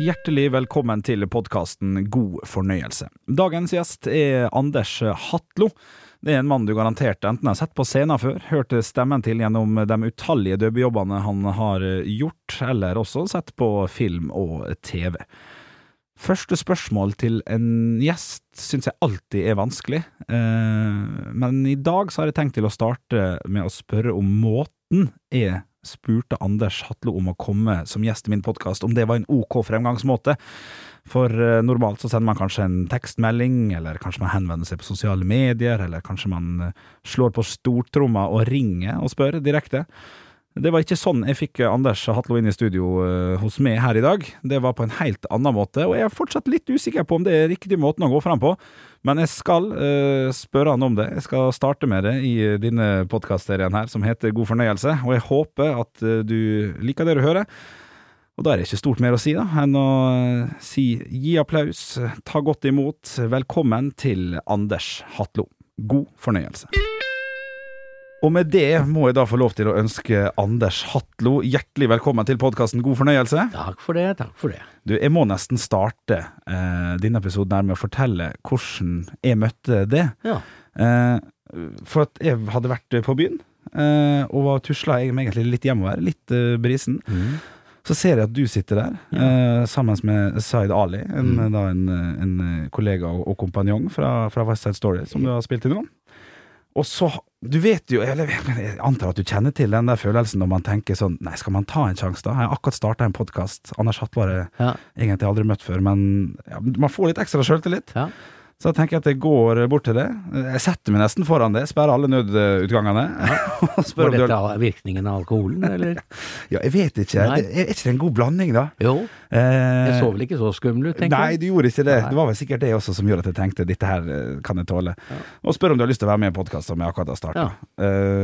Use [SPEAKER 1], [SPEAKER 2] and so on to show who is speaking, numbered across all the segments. [SPEAKER 1] hjertelig velkommen til podkasten God fornøyelse. Dagens gjest er Anders Hatlo. Det er en mann du garantert enten har sett på scenen før, hørt stemmen til gjennom de utallige dubbejobbene han har gjort, eller også sett på film og TV. Første spørsmål til en gjest syns jeg alltid er vanskelig, eh, men i dag så har jeg tenkt til å starte med å spørre om måten jeg spurte Anders Hatlo om å komme som gjest i min podkast, om det var en ok fremgangsmåte. For eh, normalt så sender man kanskje en tekstmelding, eller kanskje man henvender seg på sosiale medier, eller kanskje man eh, slår på stortromma og ringer og spør direkte. Det var ikke sånn jeg fikk Anders Hatlo inn i studio eh, hos meg her i dag. Det var på en helt annen måte, og jeg er fortsatt litt usikker på om det er riktig måten å gå fram på. Men jeg skal eh, spørre han om det. Jeg skal starte med det i eh, denne podkastserien her, som heter God fornøyelse. Og jeg håper at eh, du liker det du hører. Og da er det ikke stort mer å si da, enn å eh, si gi applaus, ta godt imot. Velkommen til Anders Hatlo. God fornøyelse. Og med det må jeg da få lov til å ønske Anders Hatlo hjertelig velkommen til podkasten God fornøyelse.
[SPEAKER 2] Takk for det, takk for det.
[SPEAKER 1] Du, jeg må nesten starte eh, denne episoden her med å fortelle hvordan jeg møtte det.
[SPEAKER 2] Ja.
[SPEAKER 1] Eh, for at jeg hadde vært på byen, eh, og var tusla jeg meg egentlig litt hjemover, litt eh, brisen.
[SPEAKER 2] Mm.
[SPEAKER 1] Så ser jeg at du sitter der, eh, sammen med Zaid Ali, en, da, en, en eh, kollega og, og kompanjong fra, fra West Side Story, som du har spilt i nå. Og så, du vet jo, eller jeg antar at du kjenner til den der følelsen når man tenker sånn, nei, skal man ta en sjanse da? Jeg har akkurat startet en podcast, Anders Hattvare,
[SPEAKER 2] Ja.
[SPEAKER 1] egentlig aldri møtt før, men ja, man får litt ekstra selvtillit.
[SPEAKER 2] Ja.
[SPEAKER 1] Så jeg tenker at jeg går bort til det. Jeg setter meg nesten foran det, sperrer alle nødutgangene. og spør om Eh,
[SPEAKER 2] Var
[SPEAKER 1] du
[SPEAKER 2] dette
[SPEAKER 1] har...
[SPEAKER 2] virkningen av alkoholen, eller?
[SPEAKER 1] Ja, jeg vet ikke.
[SPEAKER 2] Nei.
[SPEAKER 1] Det, er ikke det en god blanding, da?
[SPEAKER 2] Jo,
[SPEAKER 1] Eh,
[SPEAKER 2] jeg så vel ikke så skummel ut, tenker
[SPEAKER 1] Nei,
[SPEAKER 2] jeg.
[SPEAKER 1] du gjorde ikke det.
[SPEAKER 2] Nei.
[SPEAKER 1] Det var vel sikkert det også som gjorde at jeg tenkte dette her eh, kan jeg tåle. Og spør om du har lyst til å være med i en podkast som jeg akkurat har starta.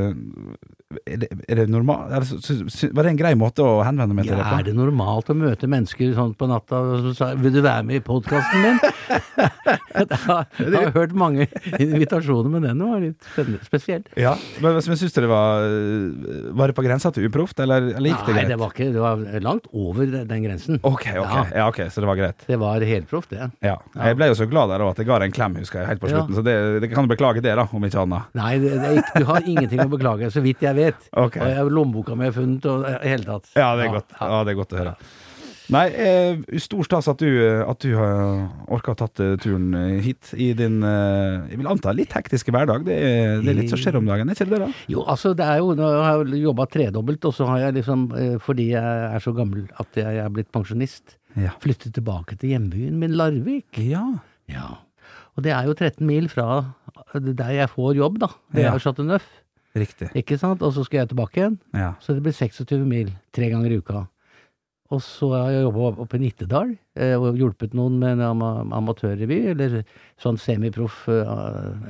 [SPEAKER 1] er, det- er det normal- er det så- så- så- Var det en grei måte å henvende meg til
[SPEAKER 2] Ja, er
[SPEAKER 1] deg på?
[SPEAKER 2] det normalt å møte mennesker sånn på natta som sa 'vil du være med i podkasten min'? jeg har, jeg har hørt mange invitasjoner, men den var litt spennende, spesiell.
[SPEAKER 1] Ja, men men syns du det var eh, Var det på grensa til uproft, eller, eller gikk det
[SPEAKER 2] Nei,
[SPEAKER 1] greit?
[SPEAKER 2] det var ikke Det var langt over den grensen.
[SPEAKER 1] Ok, ok, ja.
[SPEAKER 2] Ja.
[SPEAKER 1] ok, så det var greit.
[SPEAKER 2] Det var helproft, det.
[SPEAKER 1] Ja. Jeg ble jo så glad der også at jeg ga deg en klem, husker jeg, helt på
[SPEAKER 2] Ja.
[SPEAKER 1] slutten. Så det, det kan du beklage det, da, om ikke annet.
[SPEAKER 2] Nei, det, det er ikke, du har ingenting å beklage, så vidt jeg vet.
[SPEAKER 1] Ok.
[SPEAKER 2] Og jeg, lommeboka mi er funnet, og eh, i det hele tatt.
[SPEAKER 1] Ja, det er godt, ja, det er godt å høre. Nei, eh, stor stas at du, at du har orka å tatt eh, turen hit i din eh, Jeg vil anta litt hektiske hverdag. Det er, det er litt som skjer om dagen, er ikke det det? da?
[SPEAKER 2] Jo, altså det er jo, nå har jeg jobba tredobbelt, og så har jeg liksom, eh, fordi jeg er så gammel at jeg er blitt pensjonist,
[SPEAKER 1] Ja.
[SPEAKER 2] flyttet tilbake til hjembyen min, Larvik.
[SPEAKER 1] ja.
[SPEAKER 2] Ja. Og det er jo 13 mil fra eh, der jeg får jobb, da. Det
[SPEAKER 1] Ja.
[SPEAKER 2] er jo Chateau Neuf,
[SPEAKER 1] Riktig.
[SPEAKER 2] ikke sant? Og så skal jeg tilbake igjen.
[SPEAKER 1] Ja.
[SPEAKER 2] Så det blir 26 mil tre ganger i uka. Og så har jeg jobba oppe i Nittedal eh, og hjulpet noen med en ama amatørrevy, eller sånn semiproff eh,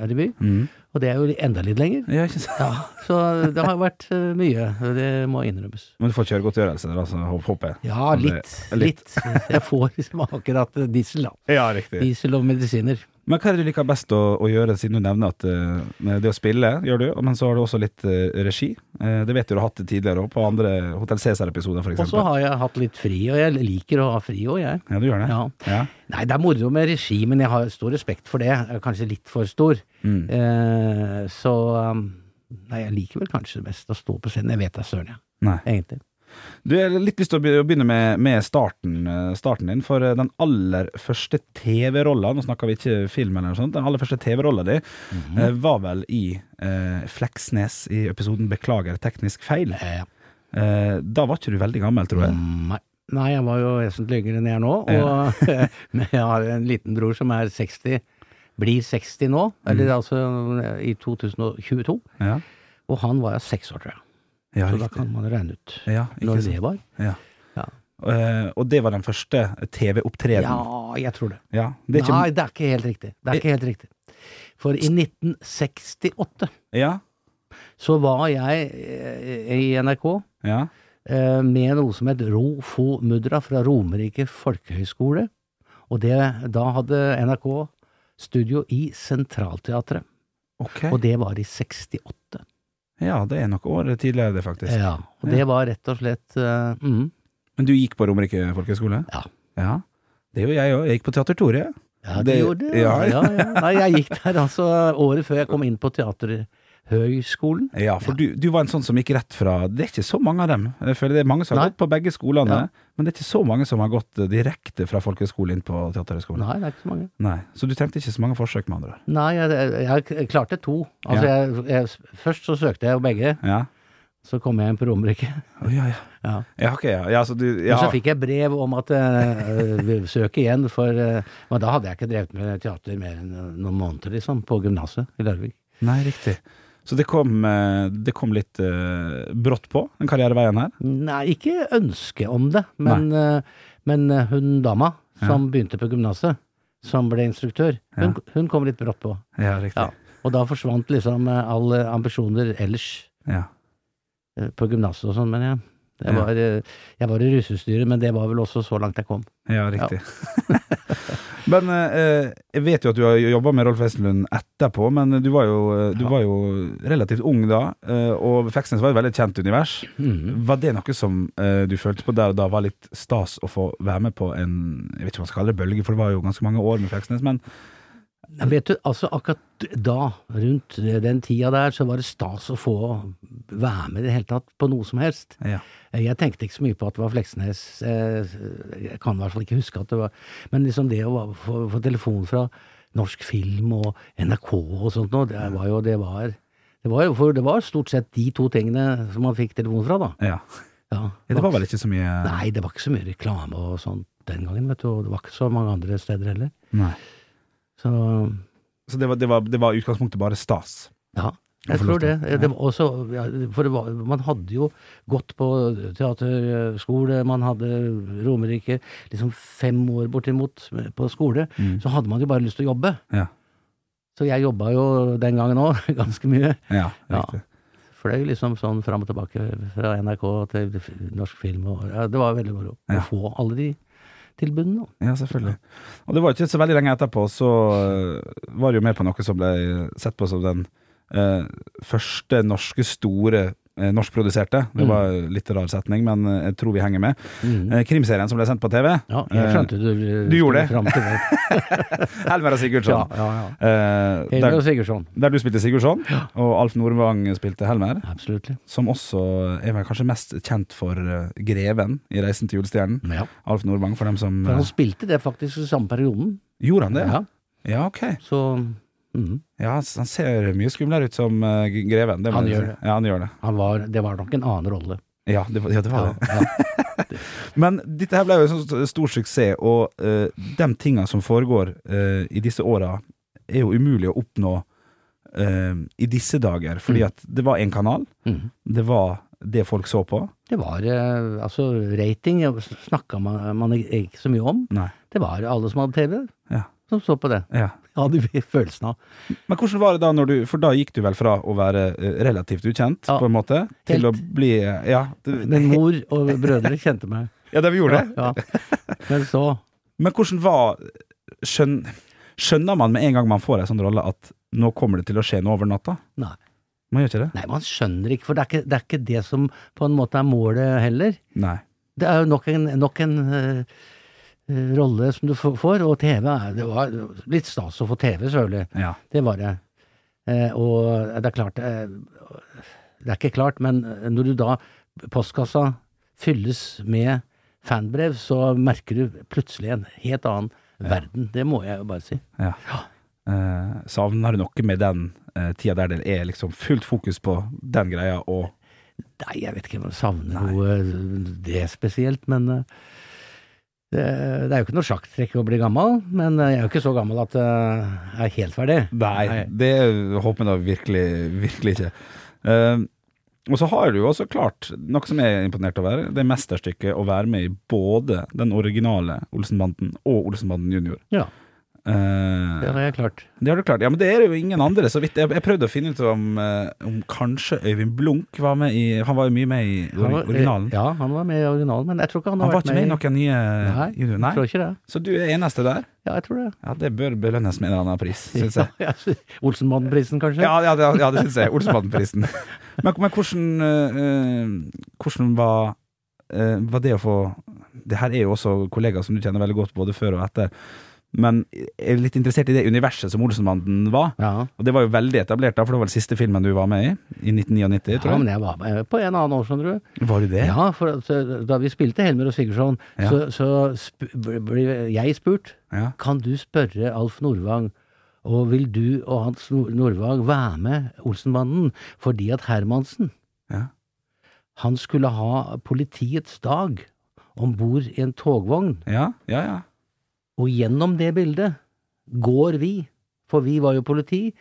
[SPEAKER 2] revy.
[SPEAKER 1] Mm.
[SPEAKER 2] Og det er jo enda litt lenger.
[SPEAKER 1] ja ikke sant?
[SPEAKER 2] Ja, så det har vært eh, mye. Det må innrømmes.
[SPEAKER 1] Men du får kjøregodtgjørelse, da, så hå- håper jeg.
[SPEAKER 2] Ja,
[SPEAKER 1] Så det-
[SPEAKER 2] litt. Litt. Jeg får liksom akkurat diesel, da.
[SPEAKER 1] Ja, riktig.
[SPEAKER 2] Diesel og medisiner.
[SPEAKER 1] Men hva er det du liker best å, å gjøre, siden du nevner at eh, det å spille gjør du, men så har du også litt eh, regi. Eh, det vet du du har hatt det tidligere òg, på andre Hotell Cæsar-episoder,
[SPEAKER 2] Og så
[SPEAKER 1] f.eks.
[SPEAKER 2] har jeg hatt litt fri, og jeg liker å ha fri òg, jeg.
[SPEAKER 1] Ja, du gjør det?
[SPEAKER 2] Ja.
[SPEAKER 1] Ja.
[SPEAKER 2] Nei, det er moro med regi, men jeg har stor respekt for det. Jeg er Kanskje litt for stor.
[SPEAKER 1] Mm.
[SPEAKER 2] Eh, så um, Nei, jeg liker vel kanskje best å stå på scenen. Jeg vet det er søren, jeg.
[SPEAKER 1] Nei.
[SPEAKER 2] Egentlig.
[SPEAKER 1] Du jeg har litt lyst til å be- å begynne med, med starten, eh, starten din, for eh, den aller første TV-rolla, nå snakker vi ikke film eller noe sånt, den aller første TV-rolla di
[SPEAKER 2] Mhm.
[SPEAKER 1] eh, var vel i eh, Fleksnes i episoden 'Beklager teknisk feil'.
[SPEAKER 2] Eh,
[SPEAKER 1] Eh, da var ikke du veldig gammel, tror jeg.
[SPEAKER 2] Nei. Nei, jeg var jo vesentlig yngre enn jeg er nå. Og, men jeg har en liten bror som er 60, blir 60 nå,
[SPEAKER 1] Mm.
[SPEAKER 2] eller altså i 2022.
[SPEAKER 1] Ja,
[SPEAKER 2] Og han var jo seks år, tror jeg.
[SPEAKER 1] ja
[SPEAKER 2] Mm. Så da
[SPEAKER 1] riktig.
[SPEAKER 2] kan man regne ut
[SPEAKER 1] Ja, ikke
[SPEAKER 2] når
[SPEAKER 1] sant.
[SPEAKER 2] det var.
[SPEAKER 1] Ja.
[SPEAKER 2] Ja.
[SPEAKER 1] Eh, og det var den første
[SPEAKER 2] Ja,
[SPEAKER 1] TV-opptredenen.
[SPEAKER 2] jeg tror det.
[SPEAKER 1] Ja, det er ikke,
[SPEAKER 2] Nei, det er ikke helt riktig. Det er ikke helt riktig. For i 1968
[SPEAKER 1] ja,
[SPEAKER 2] så var jeg eh, i NRK
[SPEAKER 1] ja,
[SPEAKER 2] eh, med noe som het Ro fo mudra fra Romerike folkehøgskole. Og det, da hadde NRK studio i Sentralteatret.
[SPEAKER 1] ok.
[SPEAKER 2] Og det var i 68.
[SPEAKER 1] Ja, det er nok året tidligere, det, faktisk.
[SPEAKER 2] Ja, og det var rett og slett eh, mm,
[SPEAKER 1] Men du gikk på Romerike folkehøgskole?
[SPEAKER 2] Ja.
[SPEAKER 1] ja. Det gjorde jeg òg. Jeg gikk på Teater Tore.
[SPEAKER 2] Ja, det,
[SPEAKER 1] Det-
[SPEAKER 2] gjorde det. Ja,
[SPEAKER 1] ja.
[SPEAKER 2] ja, ja. Nei, jeg gikk der altså året før jeg kom inn på Teaterhøgskolen.
[SPEAKER 1] Ja, for Du, du var en sånn som gikk rett fra Det er ikke så mange av dem. Jeg føler det er mange som har
[SPEAKER 2] Nei.
[SPEAKER 1] gått på begge skolene,
[SPEAKER 2] Ja.
[SPEAKER 1] men det er ikke så mange som har gått eh, direkte fra folkehøyskole inn på Teaterhøgskolen.
[SPEAKER 2] Nei, det er ikke så mange.
[SPEAKER 1] Nei. Så du trengte ikke så mange forsøk, med andre ord.
[SPEAKER 2] Nei, jeg, jeg, jeg klarte to. Altså, jeg, jeg, først så søkte jeg jo begge,
[SPEAKER 1] Ja.
[SPEAKER 2] så kom jeg inn på Romerike.
[SPEAKER 1] Å, ja, ja.
[SPEAKER 2] Ja.
[SPEAKER 1] ja, ok, ja. ja, så du,
[SPEAKER 2] Men
[SPEAKER 1] ja.
[SPEAKER 2] så fikk jeg brev om at uh, søk igjen, for eh, Men da hadde jeg ikke drevet med teater mer enn noen måneder, liksom, på gymnaset i Larvik.
[SPEAKER 1] Nei, riktig. Så det kom, eh, det kom litt eh, brått på, den karriereveien her.
[SPEAKER 2] Nei, ikke ønske om det, men, eh, men eh, hun dama som begynte på gymnaset, som ble instruktør, hun, hun kom litt brått på.
[SPEAKER 1] Ja, riktig.
[SPEAKER 2] Ja. Og da forsvant liksom eh, alle ambisjoner ellers
[SPEAKER 1] Ja.
[SPEAKER 2] eh, på gymnaset og sånn, men ja. Jeg
[SPEAKER 1] Ja.
[SPEAKER 2] var, eh, jeg var i russestyret, men det var vel også så langt jeg kom.
[SPEAKER 1] Ja, riktig. men eh, jeg vet jo at du har jobba med Rolf Wesenlund etterpå, men du var jo, eh, du
[SPEAKER 2] Ja.
[SPEAKER 1] var jo relativt ung da, eh, og Feksnes var et veldig kjent univers. Var det noe som eh, du følte på der og da var litt stas å få være med på en Jeg vet ikke om man skal kalle det bølge, for det var jo ganske mange år med Feksnes, men
[SPEAKER 2] Nei, Vet du, altså akkurat da, rundt den tida der, så var det stas å få være med i det hele tatt på noe som helst.
[SPEAKER 1] ja.
[SPEAKER 2] Jeg tenkte ikke så mye på at det var Fleksnes. eh, Jeg kan i hvert fall ikke huske at det var Men liksom det å va- få, få telefon fra norsk film og NRK og sånt noe, det var jo det var, det var jo For det var stort sett de to tingene som man fikk telefon fra, da.
[SPEAKER 1] ja.
[SPEAKER 2] Ja.
[SPEAKER 1] Ja, Det var vel ikke så mye
[SPEAKER 2] Nei, det var ikke så mye reklame og sånt den gangen, vet du. Og det var ikke så mange andre steder heller.
[SPEAKER 1] Nei.
[SPEAKER 2] Så
[SPEAKER 1] Så det var, det, var, det var i utgangspunktet bare stas.
[SPEAKER 2] ja.
[SPEAKER 1] Ja,
[SPEAKER 2] Jeg
[SPEAKER 1] for
[SPEAKER 2] tror
[SPEAKER 1] lov til.
[SPEAKER 2] det. det var også, ja, for det var, man hadde jo gått på teaterskole, man hadde Romerike liksom fem år bortimot på skole.
[SPEAKER 1] Mm.
[SPEAKER 2] Så hadde man jo bare lyst til å jobbe.
[SPEAKER 1] Ja.
[SPEAKER 2] Så jeg jobba jo den gangen òg, ganske mye.
[SPEAKER 1] Ja,
[SPEAKER 2] Ja.
[SPEAKER 1] riktig.
[SPEAKER 2] Fløy liksom sånn fram og tilbake fra NRK til f- norsk film. Og, ja, det var veldig moro
[SPEAKER 1] Ja.
[SPEAKER 2] å få alle de tilbudene. da.
[SPEAKER 1] Ja, selvfølgelig. Og det var ikke så veldig lenge etterpå, så øh, var det jo med på noe som ble sett på som den øh, første norske store øh, norskproduserte.
[SPEAKER 2] Mm.
[SPEAKER 1] Det var en litt rar setning, men øh, jeg tror vi henger med. Eh, Krimserien som ble sendt på Eh, TV.
[SPEAKER 2] Ja, jeg skjønte du eh,
[SPEAKER 1] du gjorde det. Sånn.
[SPEAKER 2] Fram til det.
[SPEAKER 1] Helmer og
[SPEAKER 2] Ja,
[SPEAKER 1] Sigurdsson.
[SPEAKER 2] ja, ja.
[SPEAKER 1] Eh,
[SPEAKER 2] Helmer
[SPEAKER 1] der,
[SPEAKER 2] og Sigurdsson.
[SPEAKER 1] der du spilte Sigurdsson, og Alf Nordvang spilte Helmer.
[SPEAKER 2] Absolutt.
[SPEAKER 1] Som også er vel kanskje mest kjent for øh, Greven i 'Reisen til julestjernen'.
[SPEAKER 2] Ja.
[SPEAKER 1] Alf Nordvang, for dem som
[SPEAKER 2] For han
[SPEAKER 1] øh,
[SPEAKER 2] spilte det faktisk i samme perioden.
[SPEAKER 1] Gjorde han det?
[SPEAKER 2] Ja,
[SPEAKER 1] ja ok.
[SPEAKER 2] så mhm.
[SPEAKER 1] Ja, han s- han ser mye skumlere ut som eh, Greven. Det må
[SPEAKER 2] Han
[SPEAKER 1] jeg
[SPEAKER 2] gjør
[SPEAKER 1] si.
[SPEAKER 2] det.
[SPEAKER 1] Ja, han gjør det.
[SPEAKER 2] han var, det var nok en annen rolle.
[SPEAKER 1] Ja, det, var- ja, det var det.
[SPEAKER 2] Ja, ja.
[SPEAKER 1] Men dette her ble jo en sånn st- stor suksess, og eh, de tinga som foregår eh, i disse åra, er jo umulig å oppnå eh, i disse dager. Fordi
[SPEAKER 2] Mm.
[SPEAKER 1] at det var én kanal,
[SPEAKER 2] Mhm.
[SPEAKER 1] det var det folk så på.
[SPEAKER 2] Det var eh, altså rating snakka man, man ikke så mye om.
[SPEAKER 1] Nei.
[SPEAKER 2] Det var alle som hadde TV,
[SPEAKER 1] Ja.
[SPEAKER 2] som så på det.
[SPEAKER 1] Ja.
[SPEAKER 2] Ja, det hadde vi følelsen av.
[SPEAKER 1] Men hvordan var det da når du For da gikk du vel fra å være eh, relativt ukjent,
[SPEAKER 2] Ja.
[SPEAKER 1] på en måte, til
[SPEAKER 2] Helt.
[SPEAKER 1] å bli eh, Ja, det,
[SPEAKER 2] Min mor og brødre kjente meg.
[SPEAKER 1] ja, det vi gjorde
[SPEAKER 2] Ja,
[SPEAKER 1] det.
[SPEAKER 2] ja. Men så
[SPEAKER 1] Men hvordan var skjøn, Skjønner man med en gang man får en sånn rolle at nå kommer det til å skje noe over natta?
[SPEAKER 2] Nei.
[SPEAKER 1] Man gjør ikke det?
[SPEAKER 2] Nei, man skjønner ikke, for det er ikke, det er ikke det som på en måte er målet heller.
[SPEAKER 1] Nei.
[SPEAKER 2] Det er jo nok en, nok en eh, eh, rolle som du f- får, og TV er Det var litt stas å få TV, selvfølgelig.
[SPEAKER 1] Ja.
[SPEAKER 2] Det var det. Eh, og det er klart eh, Det er ikke klart, men eh, når du da Postkassa fylles med fanbrev, så merker du plutselig en helt annen verden. Det må jeg jo bare si.
[SPEAKER 1] ja. Eh, savner du noe med den eh, tida der det er liksom fullt fokus på den greia og
[SPEAKER 2] Nei, jeg vet ikke om jeg savner noe det spesielt, men eh, det, det er jo ikke noe sjakktrekk å bli gammel, men eh, jeg er jo ikke så gammel at eh, jeg er helt ferdig.
[SPEAKER 1] Nei, det håper jeg da virkelig, virkelig ikke. Eh, og så har du jo også klart, noe som jeg er imponert over, det mesterstykket å være med i både den originale Olsenbanden og Olsenbanden junior.
[SPEAKER 2] Ja,
[SPEAKER 1] Uh,
[SPEAKER 2] det har jeg klart.
[SPEAKER 1] Det har du klart. Ja, men det er jo ingen andre, så vidt. Jeg, jeg prøvde å finne ut om, eh, om kanskje Øyvind Blunk var med i Han var jo mye med i
[SPEAKER 2] Han
[SPEAKER 1] ori
[SPEAKER 2] var-
[SPEAKER 1] originalen.
[SPEAKER 2] Ja, han var med i originalen, men jeg tror ikke han har
[SPEAKER 1] Han var
[SPEAKER 2] vært
[SPEAKER 1] ikke med i noen nye
[SPEAKER 2] Nei,
[SPEAKER 1] junior-
[SPEAKER 2] Jeg
[SPEAKER 1] Nei.
[SPEAKER 2] tror ikke det.
[SPEAKER 1] Så du er eneste der?
[SPEAKER 2] Ja, jeg tror det.
[SPEAKER 1] Ja, det bør belønnes med en eller annen pris, syns jeg.
[SPEAKER 2] Ja, ja, Olsenmannen-prisen, kanskje?
[SPEAKER 1] Ja, ja, det- ja det syns jeg. Olsenbanden-prisen. Men, men hvordan, eh, eh, hvordan var, eh, var det å få det her er jo også kollegaer som du kjenner veldig godt både før og etter, men jeg er litt interessert i det universet som Olsenbanden var.
[SPEAKER 2] Ja.
[SPEAKER 1] Og det var jo veldig etablert da, for det var den siste filmen du var med i, i 1999,
[SPEAKER 2] ja,
[SPEAKER 1] tror jeg.
[SPEAKER 2] men jeg var med på en annen år, skjønner du.
[SPEAKER 1] Var du det?
[SPEAKER 2] Ja, for at, eh, da vi spilte Helmer og Sigurdsson,
[SPEAKER 1] Ja.
[SPEAKER 2] så, så sp ble jeg spurt
[SPEAKER 1] Ja.
[SPEAKER 2] Kan du spørre Alf Nordvang og vil du og Hans Nor- Nordvang være med Olsenbanden fordi at Hermansen
[SPEAKER 1] Ja.
[SPEAKER 2] han skulle ha politiets dag om bord i en togvogn,
[SPEAKER 1] Ja, ja, ja.
[SPEAKER 2] og gjennom det bildet går vi, for vi var jo politi,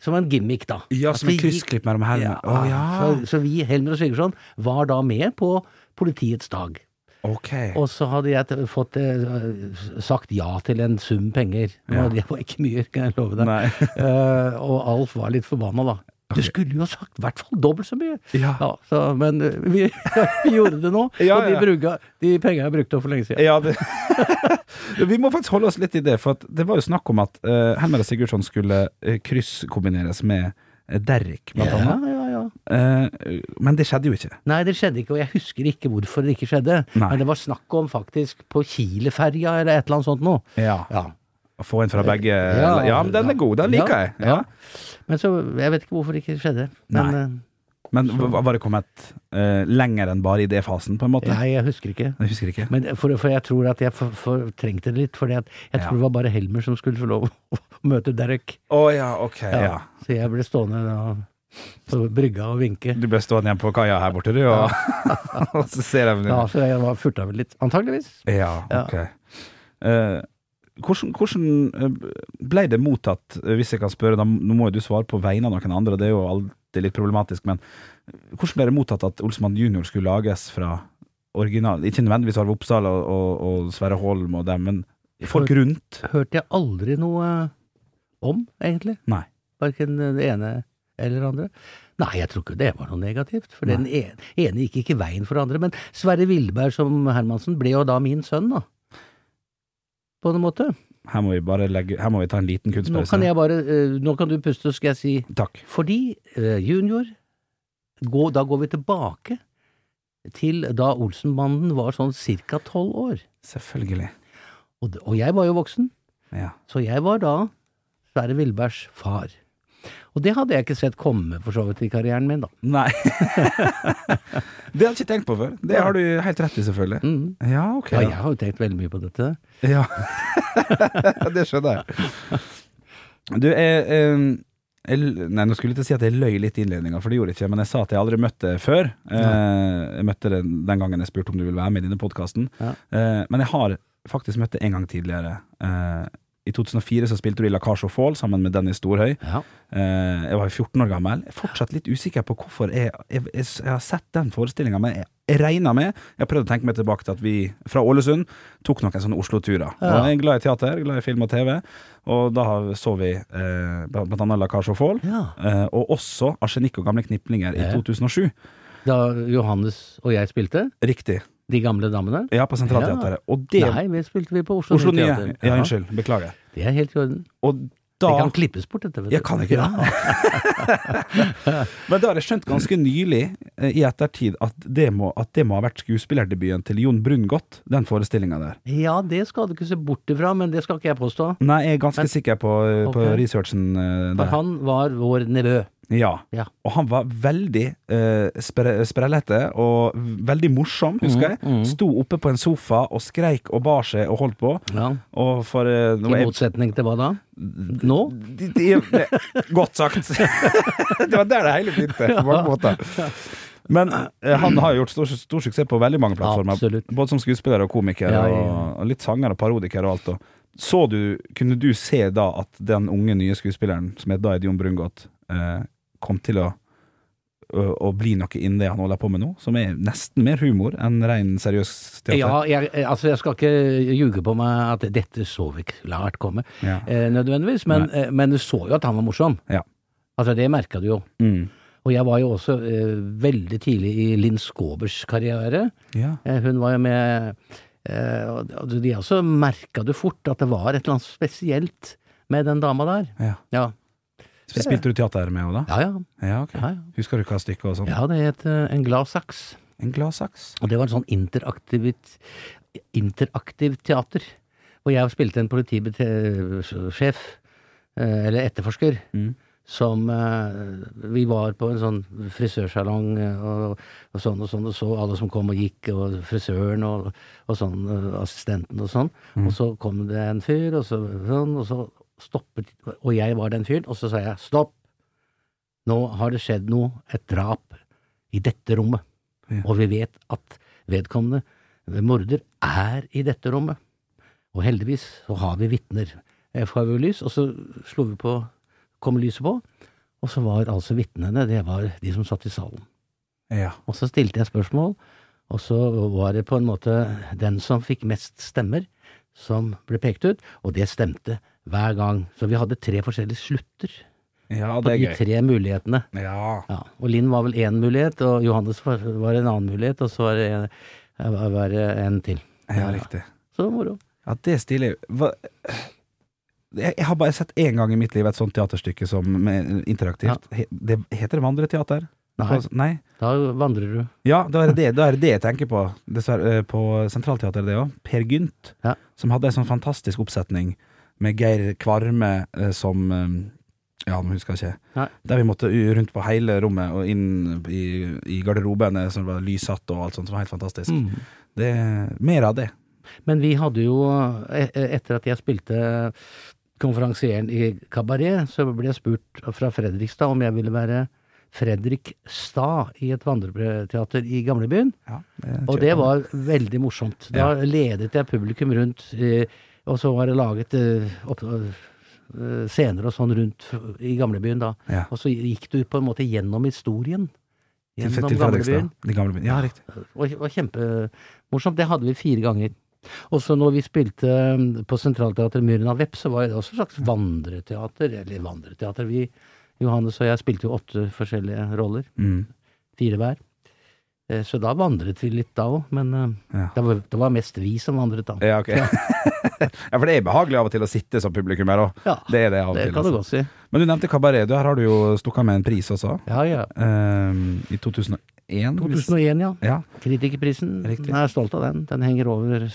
[SPEAKER 2] som en gimmick, da.
[SPEAKER 1] Ja,
[SPEAKER 2] At
[SPEAKER 1] som et
[SPEAKER 2] vi gikk-
[SPEAKER 1] Altså, kryssklipp mellom herrene. Å ja.
[SPEAKER 2] Så, så vi, Helmer og Svigersson, var da med på politiets dag.
[SPEAKER 1] Ok.
[SPEAKER 2] Og så hadde jeg t- fått eh, sagt ja til en sum penger.
[SPEAKER 1] Ja.
[SPEAKER 2] Og det var ikke mye, kan jeg love deg.
[SPEAKER 1] Nei.
[SPEAKER 2] Eh, og Alf var litt forbanna, da. Du
[SPEAKER 1] Ok.
[SPEAKER 2] skulle jo ha sagt i hvert fall dobbelt så mye!
[SPEAKER 1] Ja.
[SPEAKER 2] Ja, så, men eh, vi, vi gjorde det nå,
[SPEAKER 1] Ja,
[SPEAKER 2] og de,
[SPEAKER 1] ja.
[SPEAKER 2] bruka, de penga jeg brukte opp for lenge siden.
[SPEAKER 1] Ja, det. Vi må faktisk holde oss litt i det, for at det var jo snakk om at uh, Henrik Sigurdsson skulle eh, krysskombineres med eh, Derrik, blant
[SPEAKER 2] ja,
[SPEAKER 1] annet.
[SPEAKER 2] ja, ja.
[SPEAKER 1] Eh, men det skjedde jo ikke.
[SPEAKER 2] Nei, det skjedde ikke, og jeg husker ikke hvorfor det ikke skjedde.
[SPEAKER 1] Nei.
[SPEAKER 2] Men det var snakk om faktisk på Kileferja eller et eller annet sånt noe. Ja.
[SPEAKER 1] Å få en fra begge Ja,
[SPEAKER 2] Ja.
[SPEAKER 1] men den er god, den liker
[SPEAKER 2] Ja,
[SPEAKER 1] jeg. Ja.
[SPEAKER 2] Men så, jeg vet ikke hvorfor det ikke skjedde. Men
[SPEAKER 1] Men hva- var det kommet eh, lenger enn bare i det fasen, på en
[SPEAKER 2] eh,
[SPEAKER 1] måte?
[SPEAKER 2] nei, jeg husker ikke.
[SPEAKER 1] Jeg husker ikke.
[SPEAKER 2] Men for, for jeg tror at jeg for- fortrengte det litt, for jeg
[SPEAKER 1] Ja.
[SPEAKER 2] tror det var bare Helmer som skulle få lov å møte Derek.
[SPEAKER 1] Å ja, ok. Ja.
[SPEAKER 2] Så jeg ble stående da på brygga og vinke.
[SPEAKER 1] Du ble stående igjen på kaia her borte, du, og, og så ser jeg
[SPEAKER 2] Ja, så jeg var furta vel litt. Antageligvis.
[SPEAKER 1] Ja,
[SPEAKER 2] Ja.
[SPEAKER 1] ok. Eh, hvordan, hvordan eh, ble det mottatt, eh, hvis jeg kan spørre, da, nå må jo du svare på vegne av noen andre, og det er jo alltid litt problematisk, men hvordan ble det mottatt at Olsmann junior skulle lages fra original, ikke nødvendigvis Arve Oppsal og, og, og Sverre Holm og dem, men folk rundt?
[SPEAKER 2] Hørte jeg aldri noe om, egentlig.
[SPEAKER 1] Nei.
[SPEAKER 2] Verken det ene eller det andre. Nei, jeg tror ikke det var noe negativt. For den ene, ene gikk ikke veien for det andre. Men Sverre Wilberg som Hermansen ble jo da min sønn, da. På en måte.
[SPEAKER 1] Her må vi bare legge, her må vi ta en liten
[SPEAKER 2] Nå kan
[SPEAKER 1] kunstpause.
[SPEAKER 2] jeg bare eh, Nå kan du puste, så skal jeg si
[SPEAKER 1] Takk.
[SPEAKER 2] Fordi eh, junior gå, Da går vi tilbake til da Olsenbanden var sånn cirka tolv år.
[SPEAKER 1] Selvfølgelig.
[SPEAKER 2] Og, d- og jeg var jo voksen,
[SPEAKER 1] Ja.
[SPEAKER 2] så jeg var da Sverre Wilbergs far. Og det hadde jeg ikke sett komme for så vidt i karrieren min, da.
[SPEAKER 1] Nei. det hadde jeg ikke tenkt på før. Det har du helt rett i, selvfølgelig.
[SPEAKER 2] Mm.
[SPEAKER 1] Ja, ok.
[SPEAKER 2] Ja, jeg har jo tenkt veldig mye på dette.
[SPEAKER 1] Ja, det skjønner jeg. Du, jeg, eh, jeg l- Nei, nå skulle jeg til å si at jeg løy litt i innledninga, for det gjorde jeg ikke. Men jeg sa at jeg aldri møtte deg før. Eh, jeg møtte deg den gangen jeg spurte om du ville være med i denne podkasten.
[SPEAKER 2] Ja.
[SPEAKER 1] Eh, men jeg har faktisk møtt deg en gang tidligere. Eh, I 2004 så spilte du i La Cage aux Fall sammen med Dennis Storhøy.
[SPEAKER 2] Ja.
[SPEAKER 1] Eh, jeg var 14 år gammel. Jeg er fortsatt litt usikker på hvorfor jeg, jeg, jeg, jeg har sett den forestillinga, men jeg, jeg regna med Jeg har prøvd å tenke meg tilbake til at vi fra Ålesund tok noen sånne Oslo-turer.
[SPEAKER 2] Ja.
[SPEAKER 1] Og Jeg er glad i teater, glad i film og TV, og da har- så vi eh, blant annet La Cage aux Fall.
[SPEAKER 2] ja.
[SPEAKER 1] eh, og også Arsenikk og gamle kniplinger i
[SPEAKER 2] Ja.
[SPEAKER 1] 2007.
[SPEAKER 2] Da Johannes og jeg spilte,
[SPEAKER 1] Riktig.
[SPEAKER 2] De gamle damene.
[SPEAKER 1] Ja, på Sentralteatret. Og det
[SPEAKER 2] Nei, vi spilte vi på Oslo,
[SPEAKER 1] Oslo Nye.
[SPEAKER 2] Teater.
[SPEAKER 1] Ja, unnskyld. Beklager.
[SPEAKER 2] Det er helt i orden.
[SPEAKER 1] Og
[SPEAKER 2] Det
[SPEAKER 1] da
[SPEAKER 2] kan klippes bort, dette. vet
[SPEAKER 1] Jeg
[SPEAKER 2] du.
[SPEAKER 1] kan ikke det. Men det har jeg skjønt ganske nylig eh, i ettertid at det må, at det må ha vært skuespillerdebuten til Jon Brungot, den forestillinga der.
[SPEAKER 2] Ja, det skal du ikke se bort ifra, men det skal ikke jeg påstå.
[SPEAKER 1] Nei, jeg er ganske sikker på, eh, på
[SPEAKER 2] Ok.
[SPEAKER 1] researchen eh,
[SPEAKER 2] For
[SPEAKER 1] der.
[SPEAKER 2] han var vår nevø.
[SPEAKER 1] Ja.
[SPEAKER 2] Ja.
[SPEAKER 1] Og han var veldig eh, spre, sprellete og veldig morsom,
[SPEAKER 2] Mm,
[SPEAKER 1] husker jeg. Sto oppe på en sofa og skreik og bar seg og holdt på. Og for eh, nå
[SPEAKER 2] I
[SPEAKER 1] er jeg-
[SPEAKER 2] motsetning til hva da? Nå?
[SPEAKER 1] de, de, de, Godt sagt. det var der det hele begynte, på mange måter. Men eh, han har jo gjort stor, stor suksess på veldig mange plattformer.
[SPEAKER 2] Absolutt.
[SPEAKER 1] Både som skuespiller og komiker,
[SPEAKER 2] Ja, ja, ja.
[SPEAKER 1] Og, og litt sanger og parodiker og alt. Og. Så du, kunne du se da at den unge, nye skuespilleren, som het da Ed Jon Brungot, eh, kom til å å, å bli noe innen det han holder på med nå, som er nesten mer humor enn ren seriøs teater.
[SPEAKER 2] Ja, jeg, altså jeg skal ikke ljuge på meg at dette så vi klart komme,
[SPEAKER 1] Ja.
[SPEAKER 2] eh, nødvendigvis, men, eh, men du så jo at han var morsom.
[SPEAKER 1] Ja.
[SPEAKER 2] Altså, det merka du jo.
[SPEAKER 1] Mm.
[SPEAKER 2] Og jeg var jo også eh, veldig tidlig i Linn Skåbers karriere.
[SPEAKER 1] ja.
[SPEAKER 2] Eh, hun var jo med eh, og- og De også merka du fort at det var et eller annet spesielt med den dama der.
[SPEAKER 1] ja.
[SPEAKER 2] Ja,
[SPEAKER 1] Så Spilte du teater med henne da?
[SPEAKER 2] ja. ja.
[SPEAKER 1] Ja, ok.
[SPEAKER 2] ja, ja.
[SPEAKER 1] Husker du hva stykket og sånn?
[SPEAKER 2] Ja, det het eh, En glad saks.
[SPEAKER 1] En gladsaks.
[SPEAKER 2] Og det var en sånn interaktivt, interaktiv teater. Og jeg spilte en politibetjent, eller etterforsker, som eh, Vi var på en sånn frisørsalong eh, og, og sånn og sånn, og så alle som kom og gikk, og frisøren og, og sånn, eh, assistenten og sånn. Og så kom det en fyr, og så sånn, og så stoppet Og jeg var den fyren, og så sa jeg stopp! Nå har det skjedd noe, et drap, i dette rommet.
[SPEAKER 1] Ja.
[SPEAKER 2] Og vi vet at vedkommende morder er i dette rommet. Og heldigvis så har vi vitner. Jeg får jo lys, og så slo vi på kom lyset på, og så var altså vitnene, det var de som satt i salen.
[SPEAKER 1] Ja.
[SPEAKER 2] Og så stilte jeg spørsmål, og så var det på en måte den som fikk mest stemmer, som ble pekt ut, og det stemte hver gang. Så vi hadde tre forskjellige slutter
[SPEAKER 1] ja,
[SPEAKER 2] på
[SPEAKER 1] det
[SPEAKER 2] de
[SPEAKER 1] er gøy.
[SPEAKER 2] tre mulighetene.
[SPEAKER 1] Ja.
[SPEAKER 2] Ja, og Linn var vel én mulighet, og Johannes var var en annen mulighet, og så var det en, var det en til.
[SPEAKER 1] ja, riktig.
[SPEAKER 2] Så moro.
[SPEAKER 1] Ja, det stiller Hva- jeg, jeg har bare sett én gang i mitt liv et sånt teaterstykke som med, interaktivt. He, det, heter det Vandreteater?
[SPEAKER 2] Nei,
[SPEAKER 1] På- Nei?
[SPEAKER 2] da vandrer du.
[SPEAKER 1] Ja, da er det det, da er det det jeg tenker på. Dessverre, eh, på Sentralteatret, det òg. Per Gynt,
[SPEAKER 2] Ja.
[SPEAKER 1] som hadde en sånn fantastisk oppsetning med Geir Kvarme eh, som eh, Ja, nå husker jeg ikke.
[SPEAKER 2] Nei.
[SPEAKER 1] Der vi måtte u- rundt på hele rommet og inn i, i garderobene som var lyssatt og alt sånt. som var helt fantastisk.
[SPEAKER 2] Mm.
[SPEAKER 1] Det, mer av det.
[SPEAKER 2] Men vi hadde jo, e- e- etter at jeg spilte konferansieren i Kabaret, så ble jeg spurt fra Fredrikstad om jeg ville være Fredrik Stad i et vandreteater i gamlebyen.
[SPEAKER 1] Ja,
[SPEAKER 2] Og det var veldig morsomt. Da ledet jeg publikum rundt, eh, og så var det laget eh, opp, eh, scener og sånn rundt f- i gamlebyen da.
[SPEAKER 1] Ja.
[SPEAKER 2] Og så gikk du på en måte gjennom historien.
[SPEAKER 1] Til,
[SPEAKER 2] Gjennom
[SPEAKER 1] til Fredrikstad.
[SPEAKER 2] gamlebyen.
[SPEAKER 1] Til Gamlebyen. Ja, riktig.
[SPEAKER 2] Og, og kjempemorsomt. Det hadde vi fire ganger. Og så når vi spilte um, på Sentralteatret Myren av Vepp, så var det også et slags vandreteater. Eller vandreteater. Vi, Johannes og jeg spilte jo åtte forskjellige roller.
[SPEAKER 1] Mm.
[SPEAKER 2] Fire hver. Eh, Så da vandret vi litt da òg, men eh,
[SPEAKER 1] Ja.
[SPEAKER 2] det, var, det var mest vi som vandret da.
[SPEAKER 1] Ja, ok. ja, for det er behagelig av og til å sitte som publikummer òg.
[SPEAKER 2] Ja,
[SPEAKER 1] Det er det av og
[SPEAKER 2] det
[SPEAKER 1] til.
[SPEAKER 2] kan du
[SPEAKER 1] altså.
[SPEAKER 2] godt si.
[SPEAKER 1] Men du nevnte kabaret. Du, Her har du jo stukket av med en pris også.
[SPEAKER 2] Ja, ja.
[SPEAKER 1] Ehm, I 2001. hvis-
[SPEAKER 2] 2001, ja.
[SPEAKER 1] Ja.
[SPEAKER 2] Kritikerprisen.
[SPEAKER 1] Riktig.
[SPEAKER 2] Jeg er stolt av den. Den henger over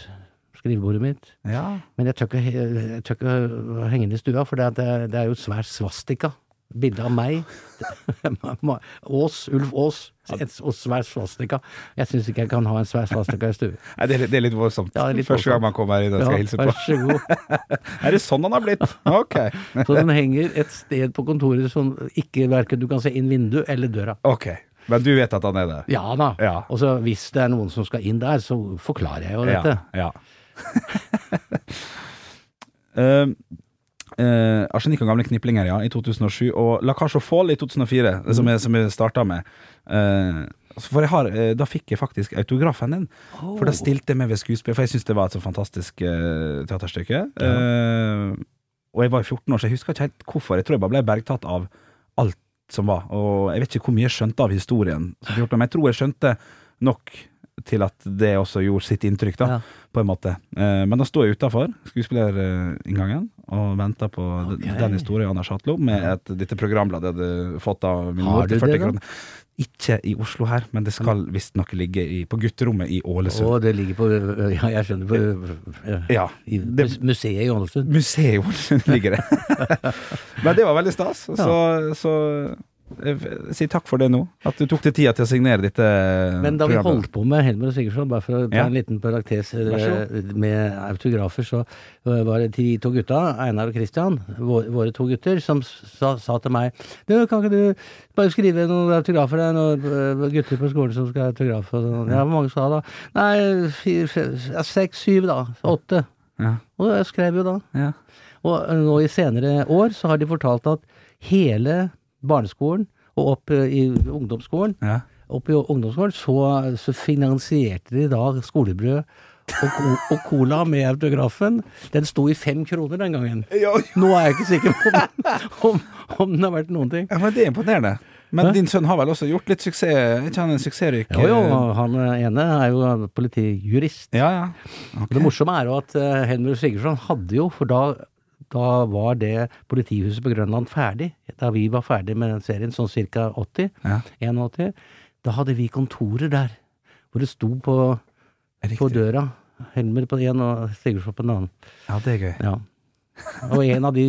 [SPEAKER 2] skrivebordet mitt.
[SPEAKER 1] ja.
[SPEAKER 2] Men jeg tør ikke, he- jeg tør ikke henge den i stua, for det er, det er- det er jo et svært svastika. Bilde av meg. Ås, Ulf Ås. Et- Og svær svastika. Jeg syns ikke jeg kan ha en svær svastika i stuen.
[SPEAKER 1] Nei, det, er, litt- det er litt voldsomt.
[SPEAKER 2] Ja, det er litt
[SPEAKER 1] Første gang
[SPEAKER 2] voldsomt.
[SPEAKER 1] man kommer her inn og
[SPEAKER 2] Ja,
[SPEAKER 1] skal hilse på.
[SPEAKER 2] vær så god.
[SPEAKER 1] Er det sånn han har blitt? Ok.
[SPEAKER 2] Så den henger et sted på kontoret som ikke verken du kan se inn vinduet eller døra.
[SPEAKER 1] Ok. Men du vet at han er der?
[SPEAKER 2] Ja da.
[SPEAKER 1] Ja.
[SPEAKER 2] Og så hvis det er noen som skal inn der, så forklarer jeg jo
[SPEAKER 1] Ja,
[SPEAKER 2] dette.
[SPEAKER 1] ja. Ehm, eh, Arsenikk og gamle kniplinger, ja, i 2007, og La Cage aux Fall i 2004, eh, som jeg, som jeg starta med. Eh, for jeg har, eh, Da fikk jeg faktisk autografen din. For
[SPEAKER 2] Oh.
[SPEAKER 1] da stilte jeg med ved skuespill, for jeg syns det var et så fantastisk eh, teaterstykke. Eh, og jeg var 14 år, så jeg husker ikke helt hvorfor. Jeg tror jeg bare ble bergtatt av alt som var. Og jeg vet ikke hvor mye jeg skjønte av historien, som 14, men jeg tror jeg skjønte nok til at det også gjorde sitt inntrykk, da,
[SPEAKER 2] Ja.
[SPEAKER 1] på en måte. Eh, men da sto jeg utafor skuespillerinngangen og venta på d-
[SPEAKER 2] Ok.
[SPEAKER 1] den historien av Anders Hatlo med et, dette programbladet jeg hadde fått av min
[SPEAKER 2] Har
[SPEAKER 1] mor til
[SPEAKER 2] du
[SPEAKER 1] 40
[SPEAKER 2] det da?
[SPEAKER 1] kroner. Ikke i Oslo her, men det skal visstnok ligge i, på gutterommet i Ålesund.
[SPEAKER 2] Og det ligger på Ja, jeg skjønner. På,
[SPEAKER 1] Ja.
[SPEAKER 2] i,
[SPEAKER 1] Det-
[SPEAKER 2] museet i Ålesund.
[SPEAKER 1] Museet i Ålesund ligger det. men det var veldig stas. Så, så jeg sier takk for det nå. At du tok deg tida til å signere dette
[SPEAKER 2] Men da vi
[SPEAKER 1] programmet.
[SPEAKER 2] holdt på med Helmer og Sigurdsson, bare for å ta
[SPEAKER 1] Ja.
[SPEAKER 2] en liten paraktes eh,
[SPEAKER 1] Vær så
[SPEAKER 2] med autografer, så eh, var det de to gutta, Einar og Christian, våre, våre to gutter, som sa, sa til meg Du, kan ikke du bare skrive noen autografer? Det er noen eh, gutter på skolen som skal ha autograf. Og sånn. Ja, hvor mange skal ha da? Nei, fire, fem, ja, seks, syv, da. Åtte.
[SPEAKER 1] Ja,
[SPEAKER 2] Og jeg skrev jo da.
[SPEAKER 1] ja.
[SPEAKER 2] Og eh, nå i senere år så har de fortalt at hele barneskolen og opp eh, i ungdomsskolen
[SPEAKER 1] Ja.
[SPEAKER 2] oppe i ungdomsskolen, så, så finansierte de da skolebrød og, ko- og cola med autografen. Den sto i fem kroner den gangen.
[SPEAKER 1] Ja,
[SPEAKER 2] Nå er jeg ikke sikker på om, om, om den har vært noen ting.
[SPEAKER 1] ja, men det er imponerende. Men din sønn har vel også gjort litt suksess? Er ikke han en suksessryk?
[SPEAKER 2] Jo, jo, han ene er jo politijurist.
[SPEAKER 1] Ja, ja.
[SPEAKER 2] Og Det morsomme er jo at eh, Helmer Sigurdsson hadde jo, for da, da var det politihuset på Grønland ferdig, da vi var ferdig med den serien, sånn ca. 80,
[SPEAKER 1] Ja.
[SPEAKER 2] 81, da hadde vi kontorer der. hvor det sto på, på
[SPEAKER 1] Riktig.
[SPEAKER 2] døra. Helmer på den ene og Sigurdsson på den annen.
[SPEAKER 1] Ja, det er gøy.
[SPEAKER 2] Ja. Og en av de,